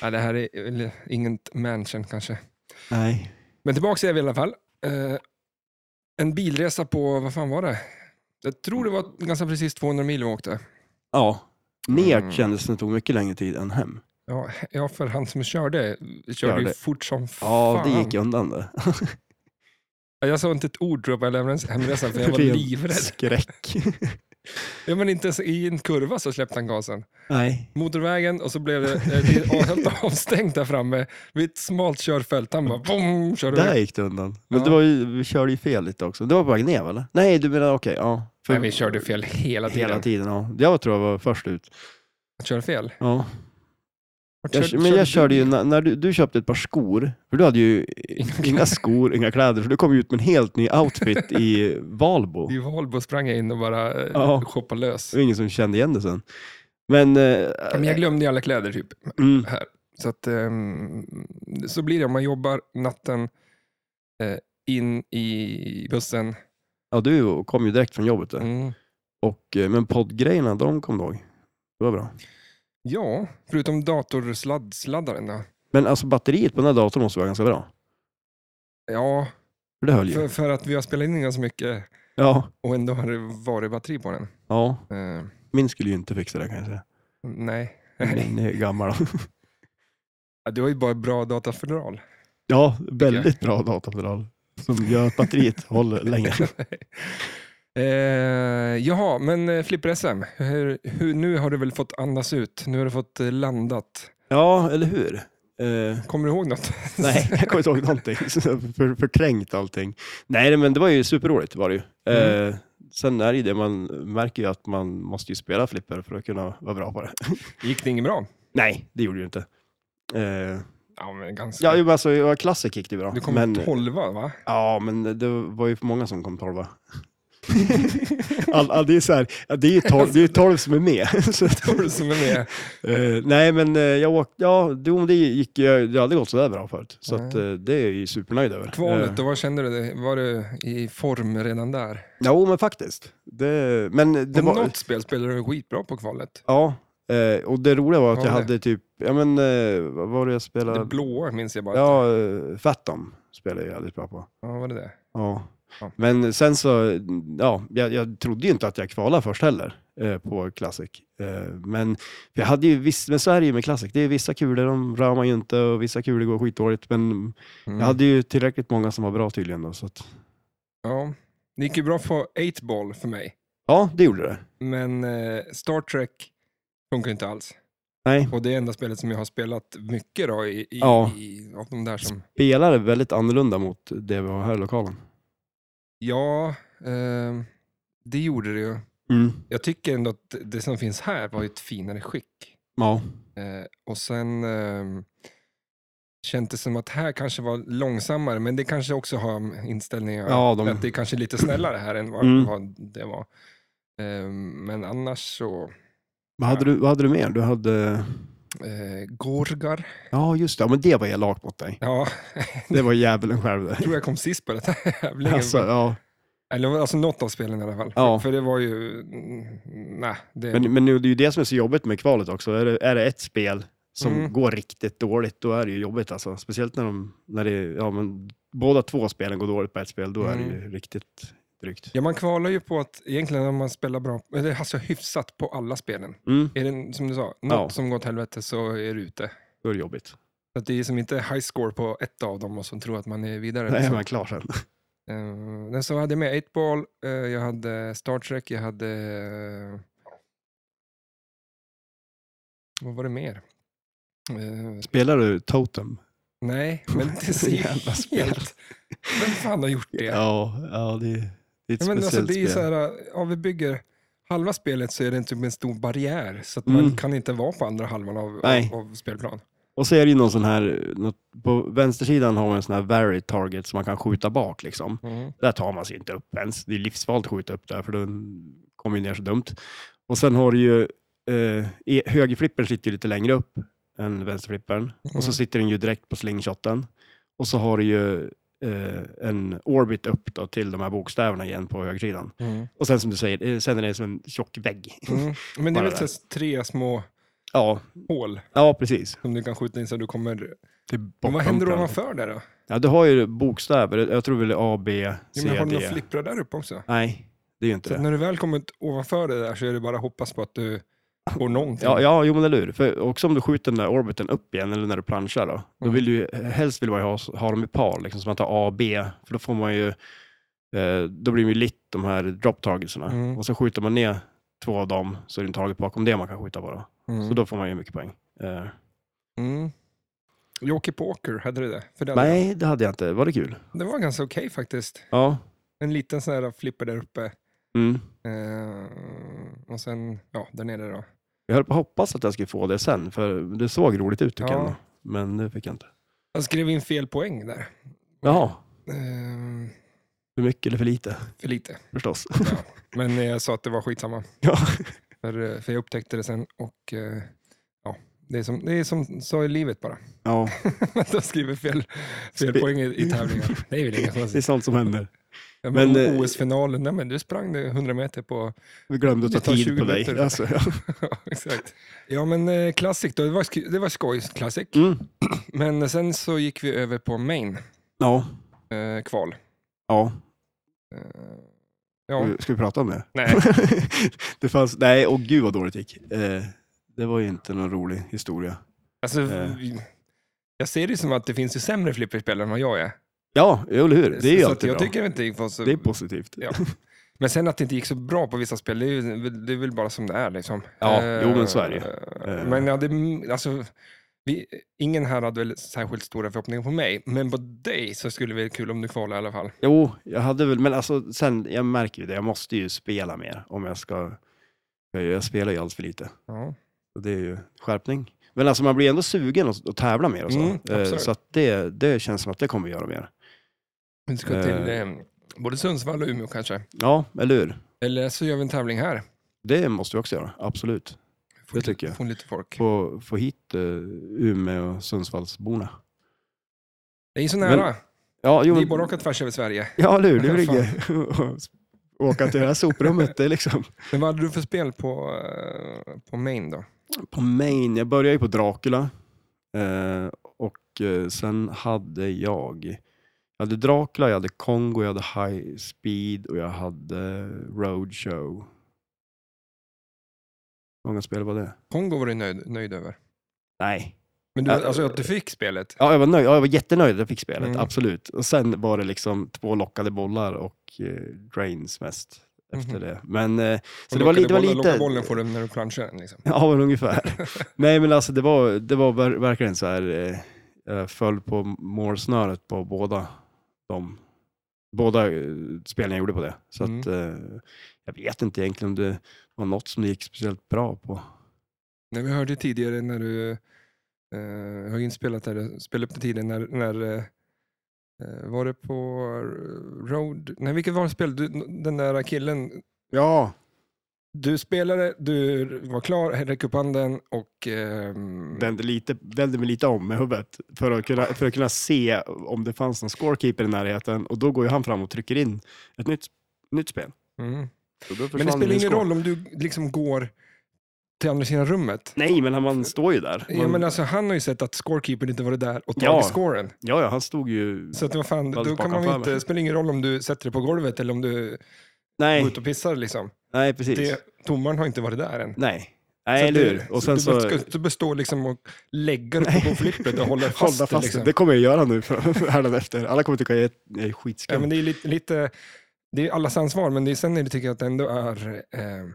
Speaker 1: ja, det här är väl inget mansion kanske.
Speaker 2: *laughs* Nej.
Speaker 1: Men tillbaka är vi i alla fall. Eh, en bilresa på, vad fan var det? Jag tror det var ganska precis 200 mil vi åkte.
Speaker 2: Ja. Ner
Speaker 1: Mm.
Speaker 2: kändes det tog mycket längre tid än hem.
Speaker 1: Ja, ja för han som körde körde ju
Speaker 2: Körde.
Speaker 1: fort som
Speaker 2: Ja,
Speaker 1: fan.
Speaker 2: det gick undan det.
Speaker 1: Ja, Jag sa inte ett ord tror jag på hela hemresan- hemresan
Speaker 2: *laughs*
Speaker 1: för jag var
Speaker 2: Ren
Speaker 1: livrädd. *laughs*
Speaker 2: Skräck.
Speaker 1: Ja, men inte ens i en kurva så släppte han gasen.
Speaker 2: Nej.
Speaker 1: Motorvägen och så blev det, eh, det
Speaker 2: *laughs*
Speaker 1: är helt avstängt där framme. Vid ett smalt körfält. Han bara boom, körde
Speaker 2: Där
Speaker 1: iväg.
Speaker 2: gick det undan. Men
Speaker 1: Ja.
Speaker 2: det var ju, vi körde ju fel lite också. Det var på väg ner eller? Nej, du menar okej. ja. För-
Speaker 1: Nej, vi körde fel hela tiden.
Speaker 2: Hela tiden, ja. Jag tror jag var först ut.
Speaker 1: Att köra fel?
Speaker 2: Ja.
Speaker 1: Vart
Speaker 2: Jag,
Speaker 1: körde-
Speaker 2: men jag körde ju,
Speaker 1: du?
Speaker 2: när, när du, du köpte ett par skor, för du hade ju inga skor, inga kläder, för du kom ju ut med en helt ny
Speaker 1: *laughs*
Speaker 2: outfit i Valbo.
Speaker 1: I Valbo sprang jag in och bara eh,
Speaker 2: Ja.
Speaker 1: shoppade lös.
Speaker 2: Det var ingen som kände igen det sen. Men, eh,
Speaker 1: Ja, Men jag glömde ju alla kläder typ.
Speaker 2: mm,
Speaker 1: Så, att, ehm, så blir det om man jobbar natten eh, in i bussen.
Speaker 2: ja, du kom ju direkt från jobbet. Där.
Speaker 1: Mm.
Speaker 2: Och, eh, men poddgrejerna, de kom du ihåg? Det var bra.
Speaker 1: Ja, förutom datorsladdsladdaren då.
Speaker 2: Men alltså batteriet på den här datorn måste vara ganska bra.
Speaker 1: Ja,
Speaker 2: För det höll ju.
Speaker 1: för, för att vi har spelat in ganska mycket
Speaker 2: Ja,
Speaker 1: och ändå har det varit batteri på den.
Speaker 2: ja,
Speaker 1: Eh,
Speaker 2: min skulle ju inte fixa det kan jag säga.
Speaker 1: nej,
Speaker 2: Min är gammal. *laughs*
Speaker 1: Ja, det var ju bara bra datafodral.
Speaker 2: Ja, väldigt bra datorfodral. Som gör att batteriet håller länge.
Speaker 1: *laughs* eh, jaha, men eh, flipper-SM, hur, hur, nu har du väl fått andas ut? Nu har du fått eh, landat.
Speaker 2: Ja, eller hur? Eh,
Speaker 1: Kommer du ihåg något?
Speaker 2: Nej, *laughs* jag kommer inte ihåg någonting. Så jag har För, förträngt allting. Nej, men det var ju superroligt var det ju. Eh, sen är det ju det, man märker ju att man måste ju spela flipper för att kunna vara bra på det.
Speaker 1: *laughs*
Speaker 2: *laughs*
Speaker 1: Gick det inget bra?
Speaker 2: Nej, det gjorde det ju inte. Eh,
Speaker 1: Ja, men ganska.
Speaker 2: ja, jo, men alltså, jag var klassiker gick det bra.
Speaker 1: du kom
Speaker 2: men,
Speaker 1: tolva, va? *laughs*
Speaker 2: Ja, men det var ju för många som kom tolva. *laughs* All, all, det är så här, ja, det är ju tolv, det är ju tolv som är med. *laughs* Så, att-
Speaker 1: Tror du som är med?
Speaker 2: eh, nej, men eh, jag åkte, ja, det, om det gick ju, det har aldrig gått så där bra förut. Så att, eh, det är jag ju supernöjd över. Eh,
Speaker 1: Kvalet, då, vad kände du? dig? Var du i form redan där?
Speaker 2: Jo, men faktiskt. Det, men det
Speaker 1: Det
Speaker 2: var,
Speaker 1: Något spel spelade du skitbra på kvalet.
Speaker 2: ja, eh, och det roliga var att
Speaker 1: Vad
Speaker 2: jag
Speaker 1: var det?
Speaker 2: hade typ, ja men eh, vad var det jag
Speaker 1: Det
Speaker 2: spelade?
Speaker 1: blåa minns jag bara. Ja.
Speaker 2: Ja, eh, Fatom spelade jag jävligt bra på.
Speaker 1: var det det?
Speaker 2: Ja.
Speaker 1: Ja.
Speaker 2: Men sen så, ja, jag, jag trodde ju inte att jag kvalade först heller eh, på Classic. Eh, men för jag hade ju visst, men så är det ju med Classic, det är vissa kulor de rör man ju inte och vissa kulor går skitdåligt. Men
Speaker 1: Mm.
Speaker 2: jag hade ju tillräckligt många som var bra tydligen då, så att,
Speaker 1: Ja. Det gick ju bra på 8-ball för mig,
Speaker 2: ja, det gjorde det.
Speaker 1: men eh, Star Trek funkar inte alls.
Speaker 2: Nej,
Speaker 1: Och det är enda spelet som jag har spelat mycket då, i, i,
Speaker 2: Ja.
Speaker 1: i, av de där som...
Speaker 2: spelade väldigt annorlunda mot det vi har här i lokalen.
Speaker 1: Ja, ehm, det gjorde det ju.
Speaker 2: Mm.
Speaker 1: Jag tycker ändå att det som finns här var ju ett finare skick.
Speaker 2: Ja.
Speaker 1: Eh, och sen ehm, kändes det som att här kanske var långsammare, men det kanske också har med inställningar.
Speaker 2: Ja, de-
Speaker 1: Att det är kanske lite snällare här än vad,
Speaker 2: Mm.
Speaker 1: vad det var. Ehm, men annars så,
Speaker 2: Vad hade, du, vad hade du mer? Du hade...
Speaker 1: eh, Gorgar.
Speaker 2: Ja, just det. Ja, men det var elakt mot dig.
Speaker 1: Ja,
Speaker 2: Det var djävulen
Speaker 1: *laughs*
Speaker 2: själv. det.
Speaker 1: jag tror jag kom sist på den *laughs* här tävlingen.
Speaker 2: Alltså, ja.
Speaker 1: Eller alltså något av spelen i alla fall.
Speaker 2: Ja.
Speaker 1: För det var ju, mm, nej. Det...
Speaker 2: Men, men nu- det är ju det som är så jobbigt med kvalet också. Är det, är det ett spel som
Speaker 1: Mm.
Speaker 2: går riktigt dåligt, då är det ju jobbigt alltså.
Speaker 1: Mm.
Speaker 2: Speciellt när, de, när det, är- ja, men, båda två spelen går dåligt på ett spel, då är det ju riktigt drygt.
Speaker 1: Ja, man kvalar ju på att egentligen om man spelar bra, eller alltså hyfsat på alla spelen.
Speaker 2: Mm.
Speaker 1: Är det som du sa, något
Speaker 2: Ja.
Speaker 1: som går åt helvete så är du ute.
Speaker 2: Då är det jobbigt.
Speaker 1: Så att det är som inte high score på ett av dem och som tror att man är vidare.
Speaker 2: Nej,
Speaker 1: liksom.
Speaker 2: man klar sen.
Speaker 1: Eh, men så hade jag med 8-ball, eh, jag hade Star Trek, jag hade... eh, vad var det mer? Eh,
Speaker 2: Spelar du Totem? *laughs*
Speaker 1: nej, men det är så jävla spelt. Vem fan har gjort det?
Speaker 2: Ja, ja det, det är ett
Speaker 1: Ja, men
Speaker 2: speciellt
Speaker 1: alltså, det är ju
Speaker 2: spel.
Speaker 1: så här, ja, vi bygger halva spelet så är det typ en stor barriär så att man
Speaker 2: Mm.
Speaker 1: kan inte vara på andra halvan av,
Speaker 2: Nej.
Speaker 1: av, av spelplan.
Speaker 2: Och så är det ju någon sån här, något, på vänstersidan har man en sån här vary target som man kan skjuta bak liksom. Där tar man sig inte upp ens. Det är livsfarligt att skjuta upp där för den kommer ju ner så dumt. Och sen har du ju, eh, e- högerflippern sitter ju lite längre upp än vänsterflippern. Och så
Speaker 1: Mm.
Speaker 2: sitter den ju direkt på slingshotten. Och så har du ju eh, en orbit upp då till de här bokstäverna igen på högersidan.
Speaker 1: Mm.
Speaker 2: Och sen som du säger, eh, sen är det som en tjock vägg.
Speaker 1: Mm. Men det är
Speaker 2: Bara
Speaker 1: väl så här tre små
Speaker 2: *laughs* Ja,
Speaker 1: hål
Speaker 2: ja precis.
Speaker 1: som du kan skjuta in så du kommer...
Speaker 2: Det är
Speaker 1: Men vad
Speaker 2: bortom
Speaker 1: händer
Speaker 2: den.
Speaker 1: ovanför där då?
Speaker 2: Ja, du har ju bokstäver. Jag tror väl det är A, B,
Speaker 1: Ja,
Speaker 2: C,
Speaker 1: men har du några
Speaker 2: D.
Speaker 1: flipprar där uppe också?
Speaker 2: Nej, det är ju inte
Speaker 1: Så att
Speaker 2: det.
Speaker 1: när du väl kommer ovanför det där så är det bara att hoppas på att du får någonting.
Speaker 2: Ja, ja, jo men eller hur. För också om du skjuter den där orbiten upp igen eller när du planchar då. Då
Speaker 1: Mm.
Speaker 2: vill du ju, helst vill man ju ha, ha dem i par, liksom, så man tar A, B. För då får man ju, eh, då blir det ju litt de här drop targetsarna.
Speaker 1: Mm.
Speaker 2: Och så skjuter man ner två av dem så är det en target bakom det man kan skjuta på då.
Speaker 1: Mm.
Speaker 2: Så då får man ju mycket poäng. Eh,
Speaker 1: Mm. Jockey Poker, hade du det? För det, hade
Speaker 2: nej, det hade jag inte. Var det kul?
Speaker 1: jag. det var ganska okej faktiskt.
Speaker 2: Ja.
Speaker 1: En liten sån här flipper där uppe.
Speaker 2: Mm.
Speaker 1: Eh, och sen, ja, där nere då.
Speaker 2: Jag höll på att hoppas att jag skulle få det sen, för det såg roligt ut tycker
Speaker 1: Ja.
Speaker 2: jag. ändå. Men det fick jag inte.
Speaker 1: Jag skrev in fel poäng där.
Speaker 2: Jaha,
Speaker 1: Eh,
Speaker 2: för mycket eller för lite?
Speaker 1: för lite.
Speaker 2: Förstås.
Speaker 1: Men jag sa att det var skitsamma.
Speaker 2: *laughs* Ja.
Speaker 1: För, eh, för jag upptäckte det sen och eh, ja, det är som, det är som så i livet bara. *laughs*
Speaker 2: ja.
Speaker 1: Att jag skriver fel, fel
Speaker 2: Spe-
Speaker 1: poäng i, i
Speaker 2: *laughs*
Speaker 1: tävlingar. Det är väl inget
Speaker 2: Det är
Speaker 1: konstigt.
Speaker 2: sånt som händer.
Speaker 1: Ja, men
Speaker 2: men, eh,
Speaker 1: OS-finalen, nej men du sprang det 100 meter på... *laughs*
Speaker 2: Vi glömde att
Speaker 1: Det
Speaker 2: ta
Speaker 1: tar 20
Speaker 2: tid på dig.
Speaker 1: minuter.
Speaker 2: Alltså, ja.
Speaker 1: ja, exakt. Ja men eh, Classic då, det var, sk- det var skoj, Classic.
Speaker 2: Mm.
Speaker 1: Men sen så gick vi över på main,
Speaker 2: ja.
Speaker 1: eh, kval.
Speaker 2: Ja.
Speaker 1: Eh, ja,
Speaker 2: Ska vi prata om det?
Speaker 1: nej.
Speaker 2: *laughs* det fanns... Nej, och gud vad dåligt det gick. Eh, det var ju inte någon rolig historia.
Speaker 1: Alltså,
Speaker 2: Eh.
Speaker 1: vi- jag ser det som att det finns ju sämre flipperspel än vad jag är.
Speaker 2: Ja, jo, eller hur? Det är ju
Speaker 1: så att
Speaker 2: alltid
Speaker 1: jag
Speaker 2: bra.
Speaker 1: tycker inte det gick så...
Speaker 2: Det är positivt.
Speaker 1: Ja. Men sen att det inte gick så bra på vissa spel, det är, ju- det är väl bara som det är liksom.
Speaker 2: Ja,
Speaker 1: Eh,
Speaker 2: jo, men så är det ju.
Speaker 1: eh,
Speaker 2: Eh.
Speaker 1: Men jag hade, alltså, vi, ingen här hade väl särskilt stora förhoppningar på mig, men på dig så skulle det vara kul om du kvalade i alla fall.
Speaker 2: Jo, jag hade väl... Men alltså, sen, jag märker ju det. Jag måste ju spela mer om jag ska... Jag, jag spelar ju allt för lite.
Speaker 1: Ja.
Speaker 2: Så det är ju skärpning. Men alltså man blir ändå sugen att, att tävla mer och så.
Speaker 1: Mm,
Speaker 2: Eh,
Speaker 1: absolut.
Speaker 2: så att det, det känns som att det kommer vi göra mer.
Speaker 1: Vi ska
Speaker 2: Eh.
Speaker 1: till eh, både Sundsvall och Umeå kanske.
Speaker 2: Ja, eller hur?
Speaker 1: Eller så gör vi en tävling här.
Speaker 2: Det måste vi också göra, absolut.
Speaker 1: Får
Speaker 2: Det
Speaker 1: lite-
Speaker 2: tycker jag.
Speaker 1: Får lite folk.
Speaker 2: Få, få hit eh, Umeå och Sundsvallsborna.
Speaker 1: Det är ju så
Speaker 2: Men-
Speaker 1: nära.
Speaker 2: Ja, jo,
Speaker 1: Vi är
Speaker 2: men-
Speaker 1: bara åka tvärs över Sverige.
Speaker 2: Ja, eller hur? Det blir *laughs* grej. Åka till det
Speaker 1: *laughs*
Speaker 2: här soprummet, det är liksom.
Speaker 1: Men vad hade du för spel på, eh, på main då?
Speaker 2: På Main, jag började ju på Dracula. Eh, och eh, sen hade jag, jag hade Dracula, jag hade Kongo, jag hade High Speed och jag hade Roadshow. Hur många spel var det?
Speaker 1: Kongo var du nöjd, nöjd över.
Speaker 2: Nej.
Speaker 1: Men du,
Speaker 2: Äh,
Speaker 1: alltså att du fick spelet?
Speaker 2: Ja, jag var nöjd. Ja, jag var jättenöjd att jag fick spelet,
Speaker 1: Mm.
Speaker 2: absolut. Och sen var det liksom två lockade bollar och eh, drains mest efter
Speaker 1: Mhm.
Speaker 2: det. Men, eh, så
Speaker 1: Och
Speaker 2: det var, li-
Speaker 1: lockade
Speaker 2: det var
Speaker 1: bollen-
Speaker 2: lite...
Speaker 1: lockade bollen får du när du planschar den liksom.
Speaker 2: *laughs* Ja, men *laughs* ungefär. Nej, men alltså det var, det var ver- verkligen så här, eh, jag föll på målsnöret på båda de båda eh, spelen jag gjorde på det. Så att, eh, jag vet inte egentligen om det var något som det gick speciellt bra på.
Speaker 1: Nej, vi hörde tidigare när du eh, har inspelat där, du spelade upp det tidigare när, när eh, eh, var det på eh, Road? Nej, vilket var det spel? Du, den där killen,
Speaker 2: Ja,
Speaker 1: du spelade, du var klar, räckte upp handen och... ehm,
Speaker 2: vände, lite, vände mig lite om med huvudet för att, kunna, för att kunna se om det fanns någon scorekeeper i närheten och då går ju han fram och trycker in ett nytt, nytt spel.
Speaker 1: mm.
Speaker 2: Så då
Speaker 1: Men det
Speaker 2: försvann
Speaker 1: spelar
Speaker 2: min
Speaker 1: ingen
Speaker 2: score.
Speaker 1: roll om du liksom går till andra sidan rummet.
Speaker 2: Nej, men han- man står ju där.
Speaker 1: Ja, men alltså, han har ju sett att scorekeepern inte varit där och tagit
Speaker 2: Ja.
Speaker 1: scoren.
Speaker 2: Ja, ja, han stod ju...
Speaker 1: Så att vad fan,
Speaker 2: Fast
Speaker 1: då kan
Speaker 2: bakom
Speaker 1: man väl
Speaker 2: för mig.
Speaker 1: inte, spelar ingen roll om du sätter dig på golvet eller om du går
Speaker 2: Nej,
Speaker 1: ut och pissar liksom.
Speaker 2: nej precis.
Speaker 1: Det, domaren har inte varit där än.
Speaker 2: Nej.
Speaker 1: Så
Speaker 2: Nej,
Speaker 1: att
Speaker 2: eller
Speaker 1: du-
Speaker 2: hur? Och sen
Speaker 1: Du
Speaker 2: så...
Speaker 1: ska inte bestå liksom och lägga dig på flippet och hålla fast,
Speaker 2: *laughs* Hålla
Speaker 1: det,
Speaker 2: fast
Speaker 1: liksom.
Speaker 2: det. Det kommer jag göra nu för- hädanefter. Alla kommer tycka jag är, jag är skitskum.
Speaker 1: Ja, men det är lite, lite, det är allas ansvar, men det är, sen är det, tycker jag att det ändå är, eh,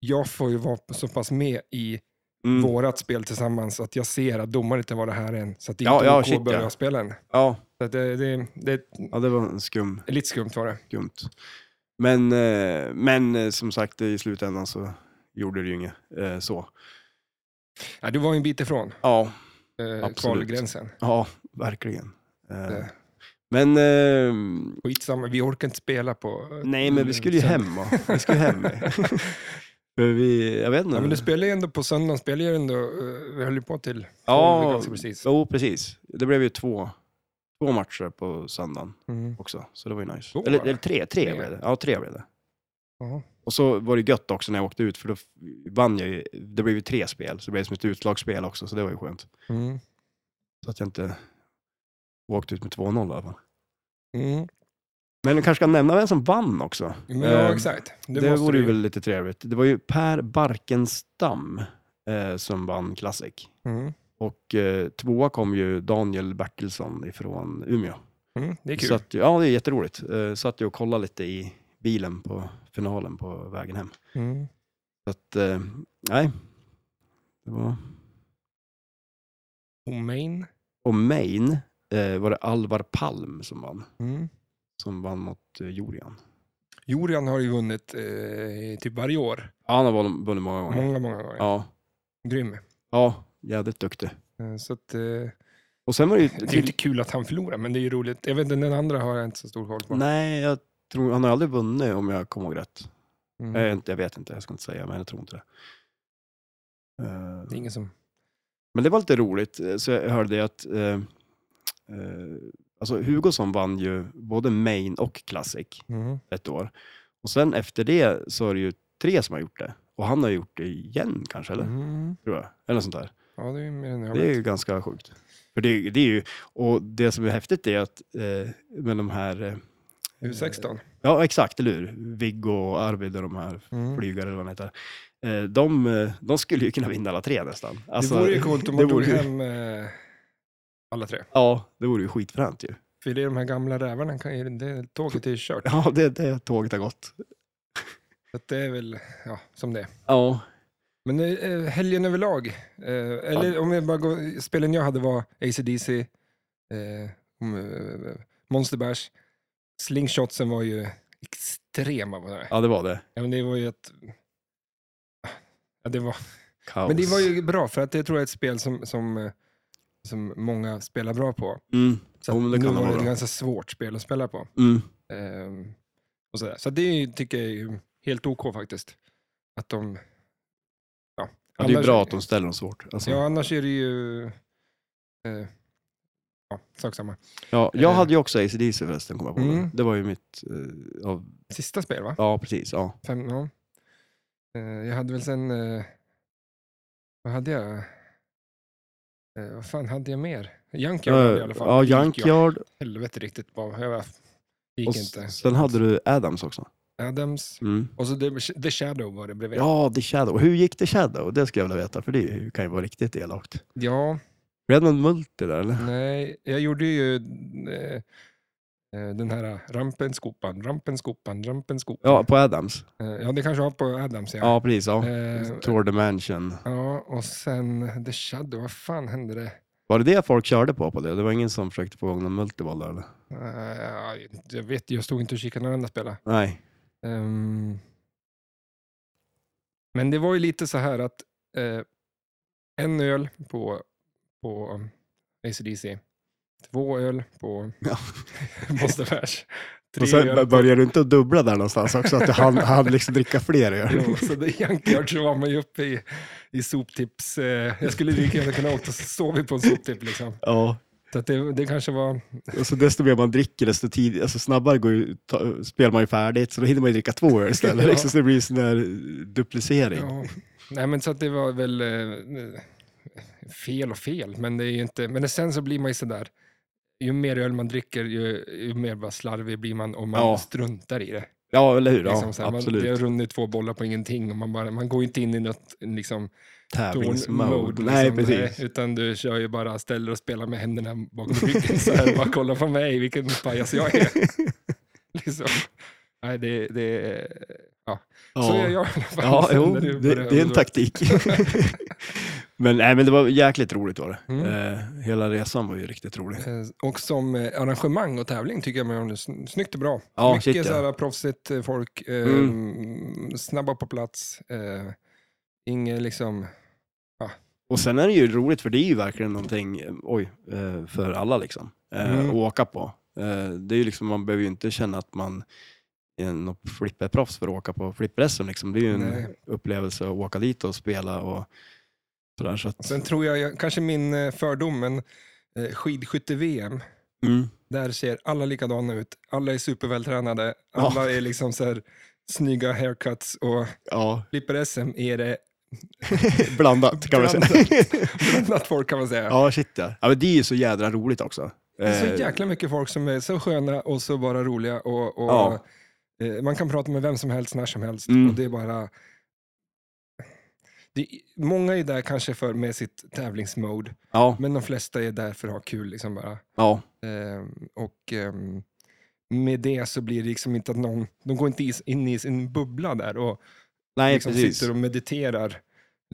Speaker 1: jag får ju vara så pass med i
Speaker 2: Mm.
Speaker 1: vårat spel tillsammans att jag ser att domaren inte var det här än, så att det
Speaker 2: Ja,
Speaker 1: inte
Speaker 2: ja,
Speaker 1: OK
Speaker 2: shit,
Speaker 1: att börja
Speaker 2: ja.
Speaker 1: spela än.
Speaker 2: ja.
Speaker 1: Så att det, det, det
Speaker 2: ja, det var en skum,
Speaker 1: är lite skumt var det.
Speaker 2: skumt. Men, eh, men eh, som sagt, i slutändan så gjorde det ju inget eh, så.
Speaker 1: Ja, du var ju en bit ifrån
Speaker 2: Ja,
Speaker 1: eh,
Speaker 2: Absolut.
Speaker 1: kvalgränsen.
Speaker 2: ja verkligen. Eh,
Speaker 1: Det-
Speaker 2: men, eh,
Speaker 1: Skitsamma, vi orkar inte spela på... eh,
Speaker 2: nej men vi skulle ju
Speaker 1: sen.
Speaker 2: hem. va? Vi skulle
Speaker 1: *laughs*
Speaker 2: ju hem. För vi, jag vet inte.
Speaker 1: Ja, men du spelar ju ändå på söndagen, spelar ju ändå, eh, vi höll ju på till
Speaker 2: Ja.
Speaker 1: tolv ganska precis.
Speaker 2: Jo, precis. Det blev ju två, två matcher på söndagen
Speaker 1: Mm.
Speaker 2: också, så det var ju nice.
Speaker 1: Två,
Speaker 2: Eller,
Speaker 1: va?
Speaker 2: eller tre, tre
Speaker 1: Tre.
Speaker 2: blev det. Ja, tre blev det.
Speaker 1: Ja.
Speaker 2: Och så var det gött också när jag åkte ut, för då vann jag ju. Det blev ju tre spel, så det blev som ett utslagsspel också, så det var ju skönt.
Speaker 1: Mm.
Speaker 2: Så att jag inte åkte ut med 2-0 i alla fall.
Speaker 1: Mm.
Speaker 2: Men jag kanske kan nämna vem som vann också.
Speaker 1: Men, ja,
Speaker 2: Eh,
Speaker 1: exakt.
Speaker 2: Det,
Speaker 1: måste
Speaker 2: vore
Speaker 1: du
Speaker 2: ju
Speaker 1: ju-
Speaker 2: väl lite trevligt. Det var ju Per Barkenstam eh, som vann Classic.
Speaker 1: Mm.
Speaker 2: Och eh, tvåa kom ju Daniel Bertilsson ifrån Umeå.
Speaker 1: Mm. Det är kul.
Speaker 2: Så att, ja, det är jätteroligt. Eh, satt jag och kollade lite i bilen på finalen på vägen hem.
Speaker 1: Mm.
Speaker 2: Så att, eh, nej. Det var...
Speaker 1: Och main.
Speaker 2: Och Main eh, var det Alvar Palm som vann.
Speaker 1: Mm.
Speaker 2: Som vann mot eh, Jorian.
Speaker 1: Jorian har ju vunnit eh, typ varje år.
Speaker 2: Ja, han har vunnit- vunnit många gånger.
Speaker 1: Många, många gånger.
Speaker 2: Ja,
Speaker 1: Grym.
Speaker 2: ja jävligt duktig.
Speaker 1: Eh, Så att, eh, det
Speaker 2: Och sen var det ju...
Speaker 1: är ju inte kul att han förlorar, men det är ju roligt. Jag vet inte, den andra har jag inte så stor koll på.
Speaker 2: Nej, jag tror, han har aldrig vunnit om jag kommer ihåg rätt.
Speaker 1: Mm.
Speaker 2: Jag, är inte, jag vet inte, jag ska inte säga, men jag tror inte det. Eh,
Speaker 1: Det är ingen som...
Speaker 2: Men det var lite roligt, eh, så jag hörde att eh, eh, alltså Hugosson vann ju både main och classic
Speaker 1: Mm.
Speaker 2: ett år. Och sen efter det så är det ju tre som har gjort det. Och han har gjort det igen kanske, eller?
Speaker 1: Mm.
Speaker 2: Tror jag. Eller något sånt där.
Speaker 1: Ja, det är ju mer än jag
Speaker 2: Det är
Speaker 1: vet.
Speaker 2: ju ganska sjukt. För det, det är ju, och det som är häftigt är att eh, med de här, eh,
Speaker 1: U16.
Speaker 2: ja exakt, eller hur? Viggo och Arvid och de här
Speaker 1: Mm.
Speaker 2: flygare eller vad de heter. Eh, de, eh, de skulle ju kunna vinna alla tre nästan. Alltså,
Speaker 1: det vore ju coolt om
Speaker 2: det
Speaker 1: man tog
Speaker 2: vore ju-
Speaker 1: hem eh, alla tre.
Speaker 2: Ja, det vore ju skitfränt ju.
Speaker 1: För det är de här gamla rävarna, kan, ju- det, tåget är ju kört.
Speaker 2: *laughs* Ja, det, det tåget har gått.
Speaker 1: Så att det är väl ja, som det är.
Speaker 2: Ja.
Speaker 1: Men eh, helgen överlag, eh, eller om jag bara går, spelen jag hade var ACDC, eh, om, eh, Monster Bash, slingshotsen var ju extrema. Var det.
Speaker 2: ja, det var det.
Speaker 1: Ja, men det var ju ett... Ja, det var...
Speaker 2: Kaos.
Speaker 1: Men det var ju bra, för att det tror jag är ett spel som, som, eh, som många spelar bra på.
Speaker 2: Mm.
Speaker 1: Så att
Speaker 2: Jo, men det
Speaker 1: nu
Speaker 2: kan
Speaker 1: var
Speaker 2: det vara
Speaker 1: det ett
Speaker 2: bra.
Speaker 1: ganska svårt spel att spela på.
Speaker 2: Mm.
Speaker 1: Ehm, och sådär. Så det är ju- tycker jag är ju helt OK faktiskt. Att de... Ja,
Speaker 2: Ja, det är ju
Speaker 1: Annars-
Speaker 2: bra att de ställer dem svårt. Alltså.
Speaker 1: Ja,
Speaker 2: Ja.
Speaker 1: annars är det ju... Eh, ja, sak samma.
Speaker 2: jag
Speaker 1: eh.
Speaker 2: hade ju också ACDC förresten, kom jag på.
Speaker 1: Mm.
Speaker 2: Det var ju mitt, eh, av,
Speaker 1: Sista spel, va?
Speaker 2: ja precis, ja.
Speaker 1: Fem, ja. Eh, jag hade väl sen... Eh, vad hade jag? Eh, vad fan hade jag mer? Junkyard hade jag i alla fall.
Speaker 2: Eh, ja,
Speaker 1: Det gick ju åt
Speaker 2: Junkyard.
Speaker 1: Helvete riktigt bra. Jag var, det gick
Speaker 2: Och
Speaker 1: inte.
Speaker 2: s- sen hade du Adams också.
Speaker 1: Adams.
Speaker 2: Mm.
Speaker 1: Och så The, The Shadow var det bredvid.
Speaker 2: Ja, The Shadow. Hur gick The Shadow? Det skulle jag vilja veta, för det kan ju vara riktigt elakt.
Speaker 1: ja,
Speaker 2: Blev det någon multi där eller?
Speaker 1: nej. Jag gjorde ju eh, eh, den här rampenskopan, rampenskopan, rampenskopan.
Speaker 2: Ja, på Adams.
Speaker 1: Eh, ja, det kanske var på Adams. Ja.
Speaker 2: Ja, precis. Ja.
Speaker 1: Eh,
Speaker 2: Tour the Mansion.
Speaker 1: Ja, och sen The Shadow, vad fan hände det?
Speaker 2: Var det det folk körde på på det? Det var ingen som försökte få igång någon multiball där eller?
Speaker 1: Eh, jag vet jag stod inte och kikade någon annan spela.
Speaker 2: Nej.
Speaker 1: Ehm, men det var ju lite så här att eh, en öl på, på ACDC, två öl på
Speaker 2: Ja.
Speaker 1: *laughs* Monsterfärs,
Speaker 2: Och
Speaker 1: tre
Speaker 2: sen
Speaker 1: öl på...
Speaker 2: börjar du inte att dubbla där någonstans också, att han, han liksom dricka fler öl.
Speaker 1: Jo, så det egentligen så var man ju uppe i, i soptips. Eh, jag skulle lika gärna kunna åka och sova på en soptipp. Liksom.
Speaker 2: Ja,
Speaker 1: Så att det, det kanske var...
Speaker 2: och så desto mer man dricker, desto tid, alltså snabbare går ju, ta, spelar man ju färdigt, så då hinner man ju dricka två öl istället.
Speaker 1: Ja.
Speaker 2: liksom, så det blir en sån där duplicering.
Speaker 1: Ja. Nej, men så att det var väl eh, fel och fel, men det är ju inte... Men sen så blir man ju sådär, ju mer öl man dricker, ju, ju mer bara slarvig blir man och man
Speaker 2: Ja.
Speaker 1: struntar i det.
Speaker 2: Ja, eller hur?
Speaker 1: Liksom, så
Speaker 2: ja,
Speaker 1: här, man, det har
Speaker 2: absolut.
Speaker 1: runnit två bollar på ingenting och man, bara, man går ju inte in i något liksom,
Speaker 2: Tävlingsmode.
Speaker 1: tornmode.
Speaker 2: Nej,
Speaker 1: liksom.
Speaker 2: precis.
Speaker 1: Nej, Utan du kör ju bara, ställer och spelar med händerna bakom ryggen så här, bara kolla på mig, vilken pajas jag är. *laughs* liksom. Nej, det, det ja. Så
Speaker 2: Ja.
Speaker 1: gör jag i alla fall.
Speaker 2: Ja,
Speaker 1: sen
Speaker 2: jo,
Speaker 1: *laughs* när du
Speaker 2: det,
Speaker 1: börjar-
Speaker 2: det är
Speaker 1: *laughs*
Speaker 2: en taktik. men, nej, men det var jäkligt roligt var
Speaker 1: Mm.
Speaker 2: det. Eh, hela resan var ju riktigt rolig.
Speaker 1: Eh, Och som eh, arrangemang och tävling tycker jag man gör det sn- snyggt och bra.
Speaker 2: Ja,
Speaker 1: Mycket
Speaker 2: shit, ja. Mm.
Speaker 1: så här proffsigt eh, folk, eh, snabba på plats, eh, inget liksom...
Speaker 2: Och sen är det ju roligt för det är ju verkligen någonting, eh, oj, eh, för alla liksom. eh,
Speaker 1: Mm.
Speaker 2: Att åka på. Eh, Det är ju liksom, man behöver ju inte känna att man är något flipperproffs för att åka på flipper-SM liksom. Det är ju en
Speaker 1: Nej.
Speaker 2: upplevelse att åka dit och spela och sådär. Så att,
Speaker 1: Sen tror jag, jag kanske min eh, fördom, men eh, skidskytte-VM,
Speaker 2: mm.
Speaker 1: där ser alla likadana ut. Alla är supervältränade, alla är liksom så här snygga haircuts och
Speaker 2: Ja,
Speaker 1: flipper-SM är det *laughs*
Speaker 2: blandat *laughs* kan man säga.
Speaker 1: blandat folk kan man säga.
Speaker 2: ja, shit ja. ja men det är ju så jädra roligt också.
Speaker 1: Det är
Speaker 2: Eh,
Speaker 1: så jäkla mycket folk som är så sköna och så bara roliga. Och, och,
Speaker 2: Ja.
Speaker 1: eh, man kan prata med vem som helst när som helst.
Speaker 2: Mm.
Speaker 1: Och det är bara... Det, många är där kanske för med sitt tävlingsmode,
Speaker 2: Ja,
Speaker 1: men de flesta är där för att ha kul. Liksom bara.
Speaker 2: ja.
Speaker 1: Ehm, och ehm, med det så blir det liksom inte att någon... De går inte is- in i sin bubbla där och
Speaker 2: Nej,
Speaker 1: liksom
Speaker 2: precis.
Speaker 1: sitter och mediterar.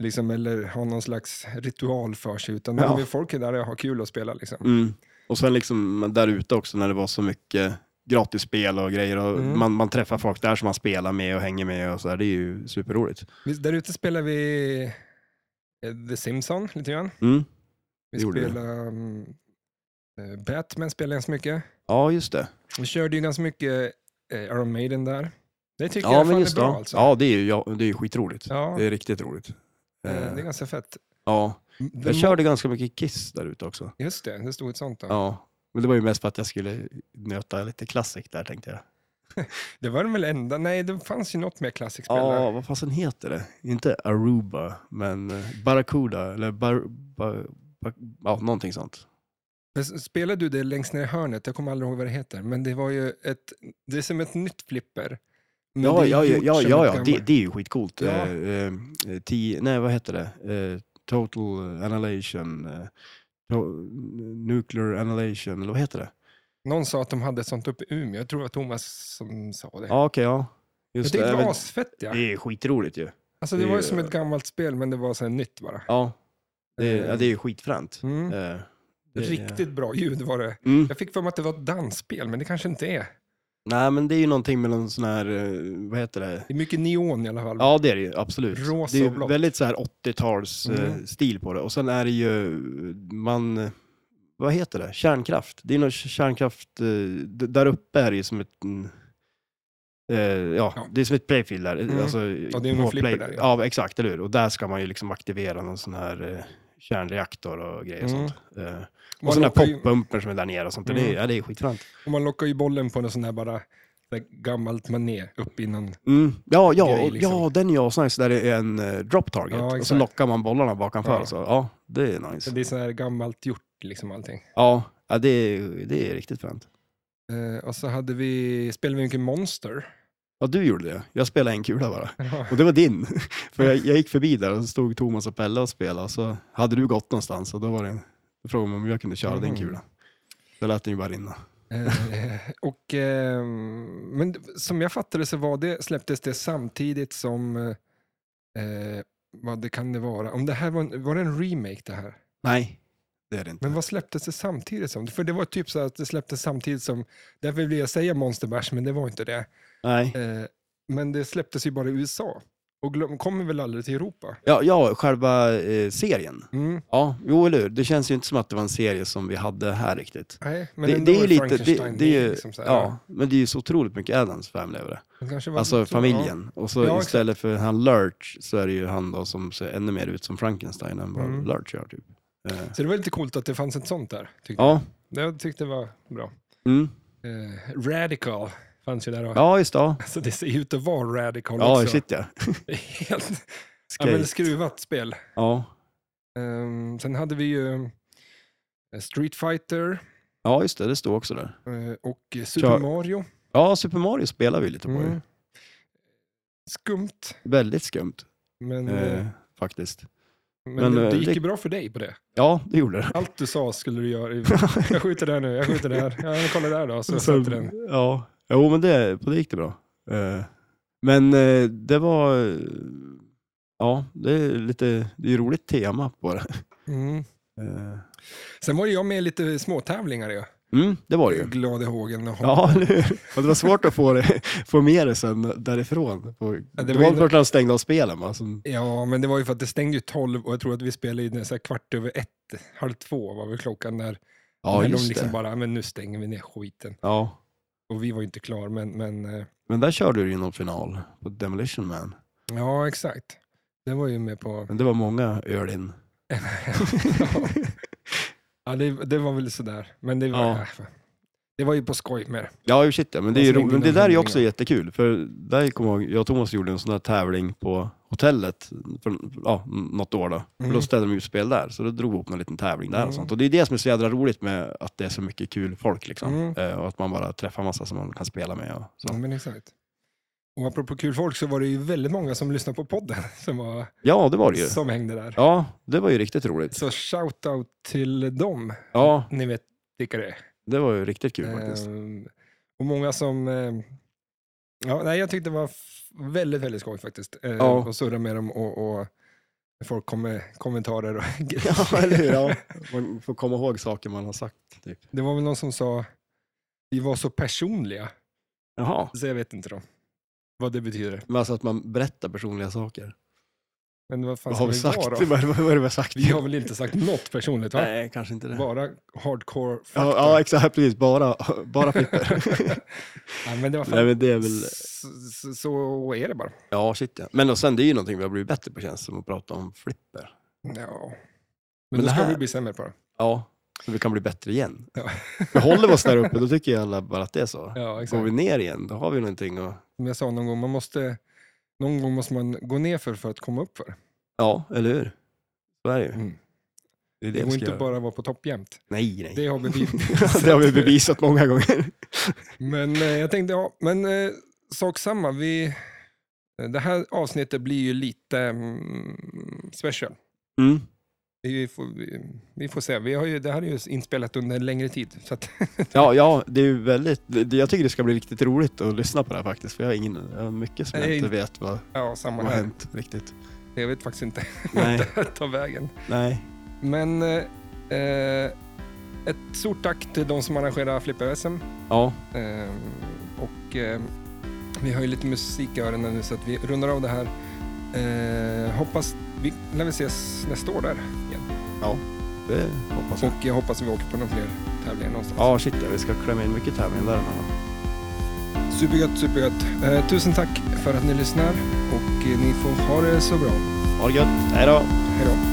Speaker 1: Liksom, eller har någon slags ritual för sig. Utan
Speaker 2: Ja.
Speaker 1: de- folk är där och har kul och spelar. Liksom.
Speaker 2: Mm. Och sen liksom där ute också när det var så mycket gratis spel och grejer och
Speaker 1: Mm.
Speaker 2: man, man träffar folk där som man spelar med och hänger med och så där. Det är ju superroligt.
Speaker 1: Vi- Där ute spelar vi eh, The Simpsons lite grann.
Speaker 2: Mm.
Speaker 1: Vi
Speaker 2: Det gjorde vi.
Speaker 1: spelar um, eh, Batman spelar ganska mycket.
Speaker 2: Ja, just det.
Speaker 1: Vi körde ju ganska mycket eh, Iron Maiden där. Det tycker
Speaker 2: Ja,
Speaker 1: jag fan
Speaker 2: men
Speaker 1: är
Speaker 2: just
Speaker 1: bra
Speaker 2: det.
Speaker 1: alltså.
Speaker 2: Ja, det är ju ja, det är ju skitroligt.
Speaker 1: Ja,
Speaker 2: Det är riktigt roligt.
Speaker 1: eh,
Speaker 2: Eh,
Speaker 1: det är ganska fett.
Speaker 2: Ja,
Speaker 1: The
Speaker 2: jag körde ganska mycket Kiss där ute också.
Speaker 1: Mo- Just det, det stod ett sånt då.
Speaker 2: Ja, men det var ju mest för att jag skulle nöta lite klassik där tänkte jag.
Speaker 1: Det var den väl enda, nej det fanns ju något mer klassiskt spel
Speaker 2: Ja,
Speaker 1: där.
Speaker 2: vad fasen heter det? Inte Aruba, men eh, Barracuda eller bar, bar, bar, ja, någonting sånt.
Speaker 1: Men s- Spelade du det längst ner i hörnet? Jag kommer aldrig ihåg vad det heter. Men det var ju ett, det är som ett nytt flipper. Men
Speaker 2: Ja,
Speaker 1: det är
Speaker 2: ja, ja,
Speaker 1: gjort
Speaker 2: ja,
Speaker 1: som
Speaker 2: ja,
Speaker 1: ett
Speaker 2: ja. Det,
Speaker 1: gammalt-
Speaker 2: det är ju skitcoolt.
Speaker 1: Ja.
Speaker 2: Eh, eh, ti, nej, vad heter det? Eh, total annihilation. Eh, to, nuclear annihilation, eller vad heter det?
Speaker 1: Någon sa att de hade ett sånt uppe i Umeå. Jag tror att Thomas som sa det.
Speaker 2: Ja, okej, ja.
Speaker 1: Jag
Speaker 2: Just
Speaker 1: tyckte det
Speaker 2: men
Speaker 1: var asfett ja.
Speaker 2: det är skitroligt ju.
Speaker 1: Alltså det var ju
Speaker 2: det-
Speaker 1: som ett gammalt spel men det var så här nytt bara.
Speaker 2: Ja, det, är- ja, det är ju skitfränt.
Speaker 1: Mm.
Speaker 2: Eh, det är-
Speaker 1: Riktigt bra ljud var det.
Speaker 2: Mm.
Speaker 1: Jag fick för mig att det var ett dansspel men det kanske inte är.
Speaker 2: Nej, men det är ju någonting med någon sån här, eh, vad heter det?
Speaker 1: Det är mycket neon i alla fall.
Speaker 2: Ja, det är det ju. Absolut.
Speaker 1: Rosa
Speaker 2: det är
Speaker 1: och
Speaker 2: ju
Speaker 1: blått.
Speaker 2: väldigt så här 80-tals eh,
Speaker 1: Mm.
Speaker 2: stil på det. Och sen är det ju, man, vad heter det? Kärnkraft. Det är någon kärnkraft, eh, d- där uppe är det ju som ett, mm, eh, ja,
Speaker 1: Ja.
Speaker 2: det är som ett playfield där.
Speaker 1: Mm.
Speaker 2: Alltså,
Speaker 1: Ja, det är någon
Speaker 2: på
Speaker 1: flipper där,
Speaker 2: Ja, exakt, eller hur? Och där ska man ju liksom aktivera någon sån här eh, kärnreaktor och grejer och
Speaker 1: Mm.
Speaker 2: sånt. Eh,
Speaker 1: Man
Speaker 2: och sådana
Speaker 1: lockar ju-
Speaker 2: här poppumper som är där nere och sånt. Det, är,
Speaker 1: Mm.
Speaker 2: ja, det är skitfränt.
Speaker 1: Och man lockar ju bollen på någon sån här bara så här gammalt mané upp i någon.
Speaker 2: Mm. Ja, ja,
Speaker 1: Grej,
Speaker 2: och-
Speaker 1: liksom.
Speaker 2: ja, den är ju asnice där det är en eh, drop target
Speaker 1: Ja,
Speaker 2: och så
Speaker 1: exakt.
Speaker 2: lockar man bollarna bakanför.
Speaker 1: Ja.
Speaker 2: Ja. Så, ja, det är nice.
Speaker 1: Det är sån här gammalt gjort liksom allting.
Speaker 2: Ja, ja det, är, det är riktigt fränt.
Speaker 1: Eh, och så hade vi, spelade vi mycket Monster.
Speaker 2: Ja, du gjorde det. Jag spelade en kula bara. Och det var din. *laughs* För jag, jag gick förbi där och så stod Thomas och Pelle och spelade och så hade du gått någonstans och då var det en då frågade de om jag kunde köra din
Speaker 1: Mm.
Speaker 2: kula. Så lät den ju bara rinna.
Speaker 1: Eh, och, eh, men som jag fattade så var det, släpptes det samtidigt som, eh, vad det kan det vara, om det här var, en, var det en remake det här?
Speaker 2: Nej, det är det inte.
Speaker 1: Men vad släpptes det samtidigt som? För det var typ så att det släpptes samtidigt som, därför ville jag säga Monster Bash, men det var inte det.
Speaker 2: Nej.
Speaker 1: Eh, men det släpptes ju bara i USA och glöm, kommer väl aldrig till Europa?
Speaker 2: Ja, ja själva eh, serien.
Speaker 1: Mm.
Speaker 2: Ja, jo eller hur. Det känns ju inte som att det var en serie som vi hade här riktigt.
Speaker 1: Nej, men
Speaker 2: det,
Speaker 1: ändå
Speaker 2: det är ju lite, det,
Speaker 1: Frankenstein
Speaker 2: det är ju,
Speaker 1: liksom så här.
Speaker 2: ja, men det är ju så otroligt mycket Addams Family över det.
Speaker 1: Det kanske var-
Speaker 2: alltså familjen. Och så
Speaker 1: Ja, exakt.
Speaker 2: istället för han Lurch så är det ju han då som ser ännu mer ut som Frankenstein än vad
Speaker 1: Mm.
Speaker 2: Lurch gör typ. Eh,
Speaker 1: Ja. Så det var lite coolt att det fanns ett sånt där. Tyckte
Speaker 2: ja,
Speaker 1: jag. jag tyckte det var bra.
Speaker 2: mm.
Speaker 1: Eh, radical fanns ju där. Och, *laughs*
Speaker 2: ja just det. Ja,
Speaker 1: Alltså det ser ju ut att vara radical
Speaker 2: ja
Speaker 1: också.
Speaker 2: shit ja.
Speaker 1: Det är *laughs* Helt Ja, men
Speaker 2: Skate.
Speaker 1: skruvat spel.
Speaker 2: Ja,
Speaker 1: Ehm, sen hade vi ju eh, Street Fighter
Speaker 2: ja just det. Det står också där.
Speaker 1: eh, och Super
Speaker 2: Kör.
Speaker 1: Mario.
Speaker 2: Ja, Super Mario spelar vi lite på ju.
Speaker 1: Mm. Skumt,
Speaker 2: Väldigt skumt
Speaker 1: men, eh,
Speaker 2: eh, faktiskt.
Speaker 1: men,
Speaker 2: men, eh,
Speaker 1: det gick
Speaker 2: det-
Speaker 1: ju bra för dig på
Speaker 2: *laughs*
Speaker 1: det.
Speaker 2: Ja, det gjorde det.
Speaker 1: Allt du sa skulle du göra.
Speaker 2: *laughs*
Speaker 1: i- Jag skjuter där nu, jag skjuter där. Ja, men kolla där då, så
Speaker 2: Så-
Speaker 1: satte den.
Speaker 2: Ja, jo men det, på det gick det bra. Eh, Men eh, det var, eh, ja det är lite, det är ju roligt tema på det.
Speaker 1: Mm.
Speaker 2: Eh,
Speaker 1: Sen var ju jag med i lite småtävlingar ju.
Speaker 2: Mm, det var det ju.
Speaker 1: Glad i hågen. och-
Speaker 2: Ja, eller hur? och det var svårt att få, det, få med det sen därifrån. På,
Speaker 1: var
Speaker 2: det var, det
Speaker 1: ju-
Speaker 2: var klart när de stängde av spelen. Va? Som,
Speaker 1: Ja, men det var ju för att det stängde ju tolv och jag tror att vi spelade i den så här kvart över ett, halv två var väl klockan där.
Speaker 2: ja,
Speaker 1: när de
Speaker 2: just
Speaker 1: liksom
Speaker 2: det.
Speaker 1: bara, men nu stänger vi ner skiten.
Speaker 2: Ja.
Speaker 1: Och vi var ju inte klar, men, men eh,
Speaker 2: Men där körde du ju någon final på Demolition Man.
Speaker 1: ja, exakt. Det var ju med
Speaker 2: *laughs*
Speaker 1: på...
Speaker 2: Men det var många öl in.
Speaker 1: ja, det, det var väl sådär, men det var,
Speaker 2: Ja.
Speaker 1: det var ju på skoj med det.
Speaker 2: Ja, ju shit ja. Men det, är ju
Speaker 1: Och så
Speaker 2: ro- men det
Speaker 1: innan
Speaker 2: där är ju
Speaker 1: handlingen.
Speaker 2: också jättekul. För där kommer jag ihåg, jag och Thomas gjorde en sån där tävling på hotellet för ja, något år då. För
Speaker 1: Mm.
Speaker 2: då ställde de ut spel där, så då drog vi upp en liten tävling där
Speaker 1: Mm.
Speaker 2: och sånt. Och det är det som är så jädra roligt med att det är så mycket kul folk liksom.
Speaker 1: Mm.
Speaker 2: Eh, och att man bara träffar massa som man kan spela med och så.
Speaker 1: Ja, men exakt. Och apropå kul folk så var det ju väldigt många som lyssnade på podden *laughs* som, var,
Speaker 2: Ja, det var det ju.
Speaker 1: som hängde där.
Speaker 2: Ja, det var ju riktigt roligt.
Speaker 1: Så shout-out till dem,
Speaker 2: Ja,
Speaker 1: ni vet vilka det är.
Speaker 2: det var ju riktigt kul *laughs* faktiskt.
Speaker 1: Ehm, och många som... ehm, ja, nej, jag tyckte det var f- väldigt, väldigt skoj faktiskt. Uh,
Speaker 2: Ja.
Speaker 1: Och surra med dem och, och folk kom med kommentarer och *laughs* grejer.
Speaker 2: Ja, eller hur? Ja. Man får komma ihåg saker man har sagt. Typ.
Speaker 1: *laughs* Det var väl någon som sa, vi var så personliga,
Speaker 2: Jaha.
Speaker 1: så jag vet inte då vad det betyder.
Speaker 2: Men alltså att man berättar personliga saker.
Speaker 1: Men vad fan
Speaker 2: Vad
Speaker 1: ska
Speaker 2: har vi
Speaker 1: vi
Speaker 2: sagt?
Speaker 1: vara
Speaker 2: *laughs* Vad
Speaker 1: då?
Speaker 2: vad är det vi har sagt?
Speaker 1: Vi har väl inte sagt något personligt, va?
Speaker 2: Nej, kanske inte det.
Speaker 1: Bara hardcore fakta.
Speaker 2: Ja, ja, exakt. Precis. Bara, bara *laughs* flipper.
Speaker 1: Ja, men det var fan,
Speaker 2: Nej, men det är väl...
Speaker 1: s- s- så är det bara.
Speaker 2: Ja, shit ja. Men och sen, det är ju någonting vi har blivit bättre på känns det som, att prata om flipper.
Speaker 1: Ja. Men,
Speaker 2: Men
Speaker 1: då
Speaker 2: det
Speaker 1: ska
Speaker 2: här-
Speaker 1: vi bli sämre på det.
Speaker 2: Ja, så vi kan bli bättre igen.
Speaker 1: Ja.
Speaker 2: Men håller *laughs* vi oss där uppe, då tycker jag alla bara att det är så.
Speaker 1: Ja,
Speaker 2: Går
Speaker 1: exakt.
Speaker 2: vi ner igen, då har vi någonting att...
Speaker 1: Som jag sa någon gång, man måste, någon gång måste man gå ner för, för att komma upp för.
Speaker 2: Ja, eller hur? Så är det ju.
Speaker 1: Mm.
Speaker 2: Det är
Speaker 1: Det
Speaker 2: det vi
Speaker 1: går
Speaker 2: ska
Speaker 1: inte
Speaker 2: göra.
Speaker 1: bara vara på topp jämt.
Speaker 2: Nej, nej.
Speaker 1: Det har vi
Speaker 2: *laughs* det har vi bevisat många gånger.
Speaker 1: Men eh, jag tänkte, ja, men eh, sak samma. Vi, det här avsnittet blir ju lite mm, special.
Speaker 2: Mm.
Speaker 1: Vi får, vi, vi får se. Vi har ju, det här är ju inspelat under en längre tid. Så att, *laughs*
Speaker 2: Ja, ja, det är ju väldigt... det- Jag tycker det ska bli riktigt roligt att lyssna på det här faktiskt, för jag har ingen... Jag har mycket som jag
Speaker 1: Nej.
Speaker 2: inte vet vad,
Speaker 1: ja, samma
Speaker 2: vad har
Speaker 1: här.
Speaker 2: hänt riktigt.
Speaker 1: Jag vet faktiskt inte
Speaker 2: Nej,
Speaker 1: vart *laughs* det tar vägen.
Speaker 2: nej.
Speaker 1: Men eh, eh, ett stort tack till de som arrangerar Flipper-SM.
Speaker 2: Ja,
Speaker 1: Ehm, och ehm, vi har ju lite musik i öronen nu så att vi rundar av det här. Ehm, hoppas vi lär vi ses nästa år där igen.
Speaker 2: det hoppas jag.
Speaker 1: Och jag hoppas vi åker på några fler tävlingar någonstans.
Speaker 2: Ja, shit ja, vi ska klämma in mycket tävlingar däremellan.
Speaker 1: Supergött, supergött. Eh, tusen tack för att ni lyssnar och eh, ni får ha det så bra.
Speaker 2: Ha det gött, hej då!
Speaker 1: Hej då.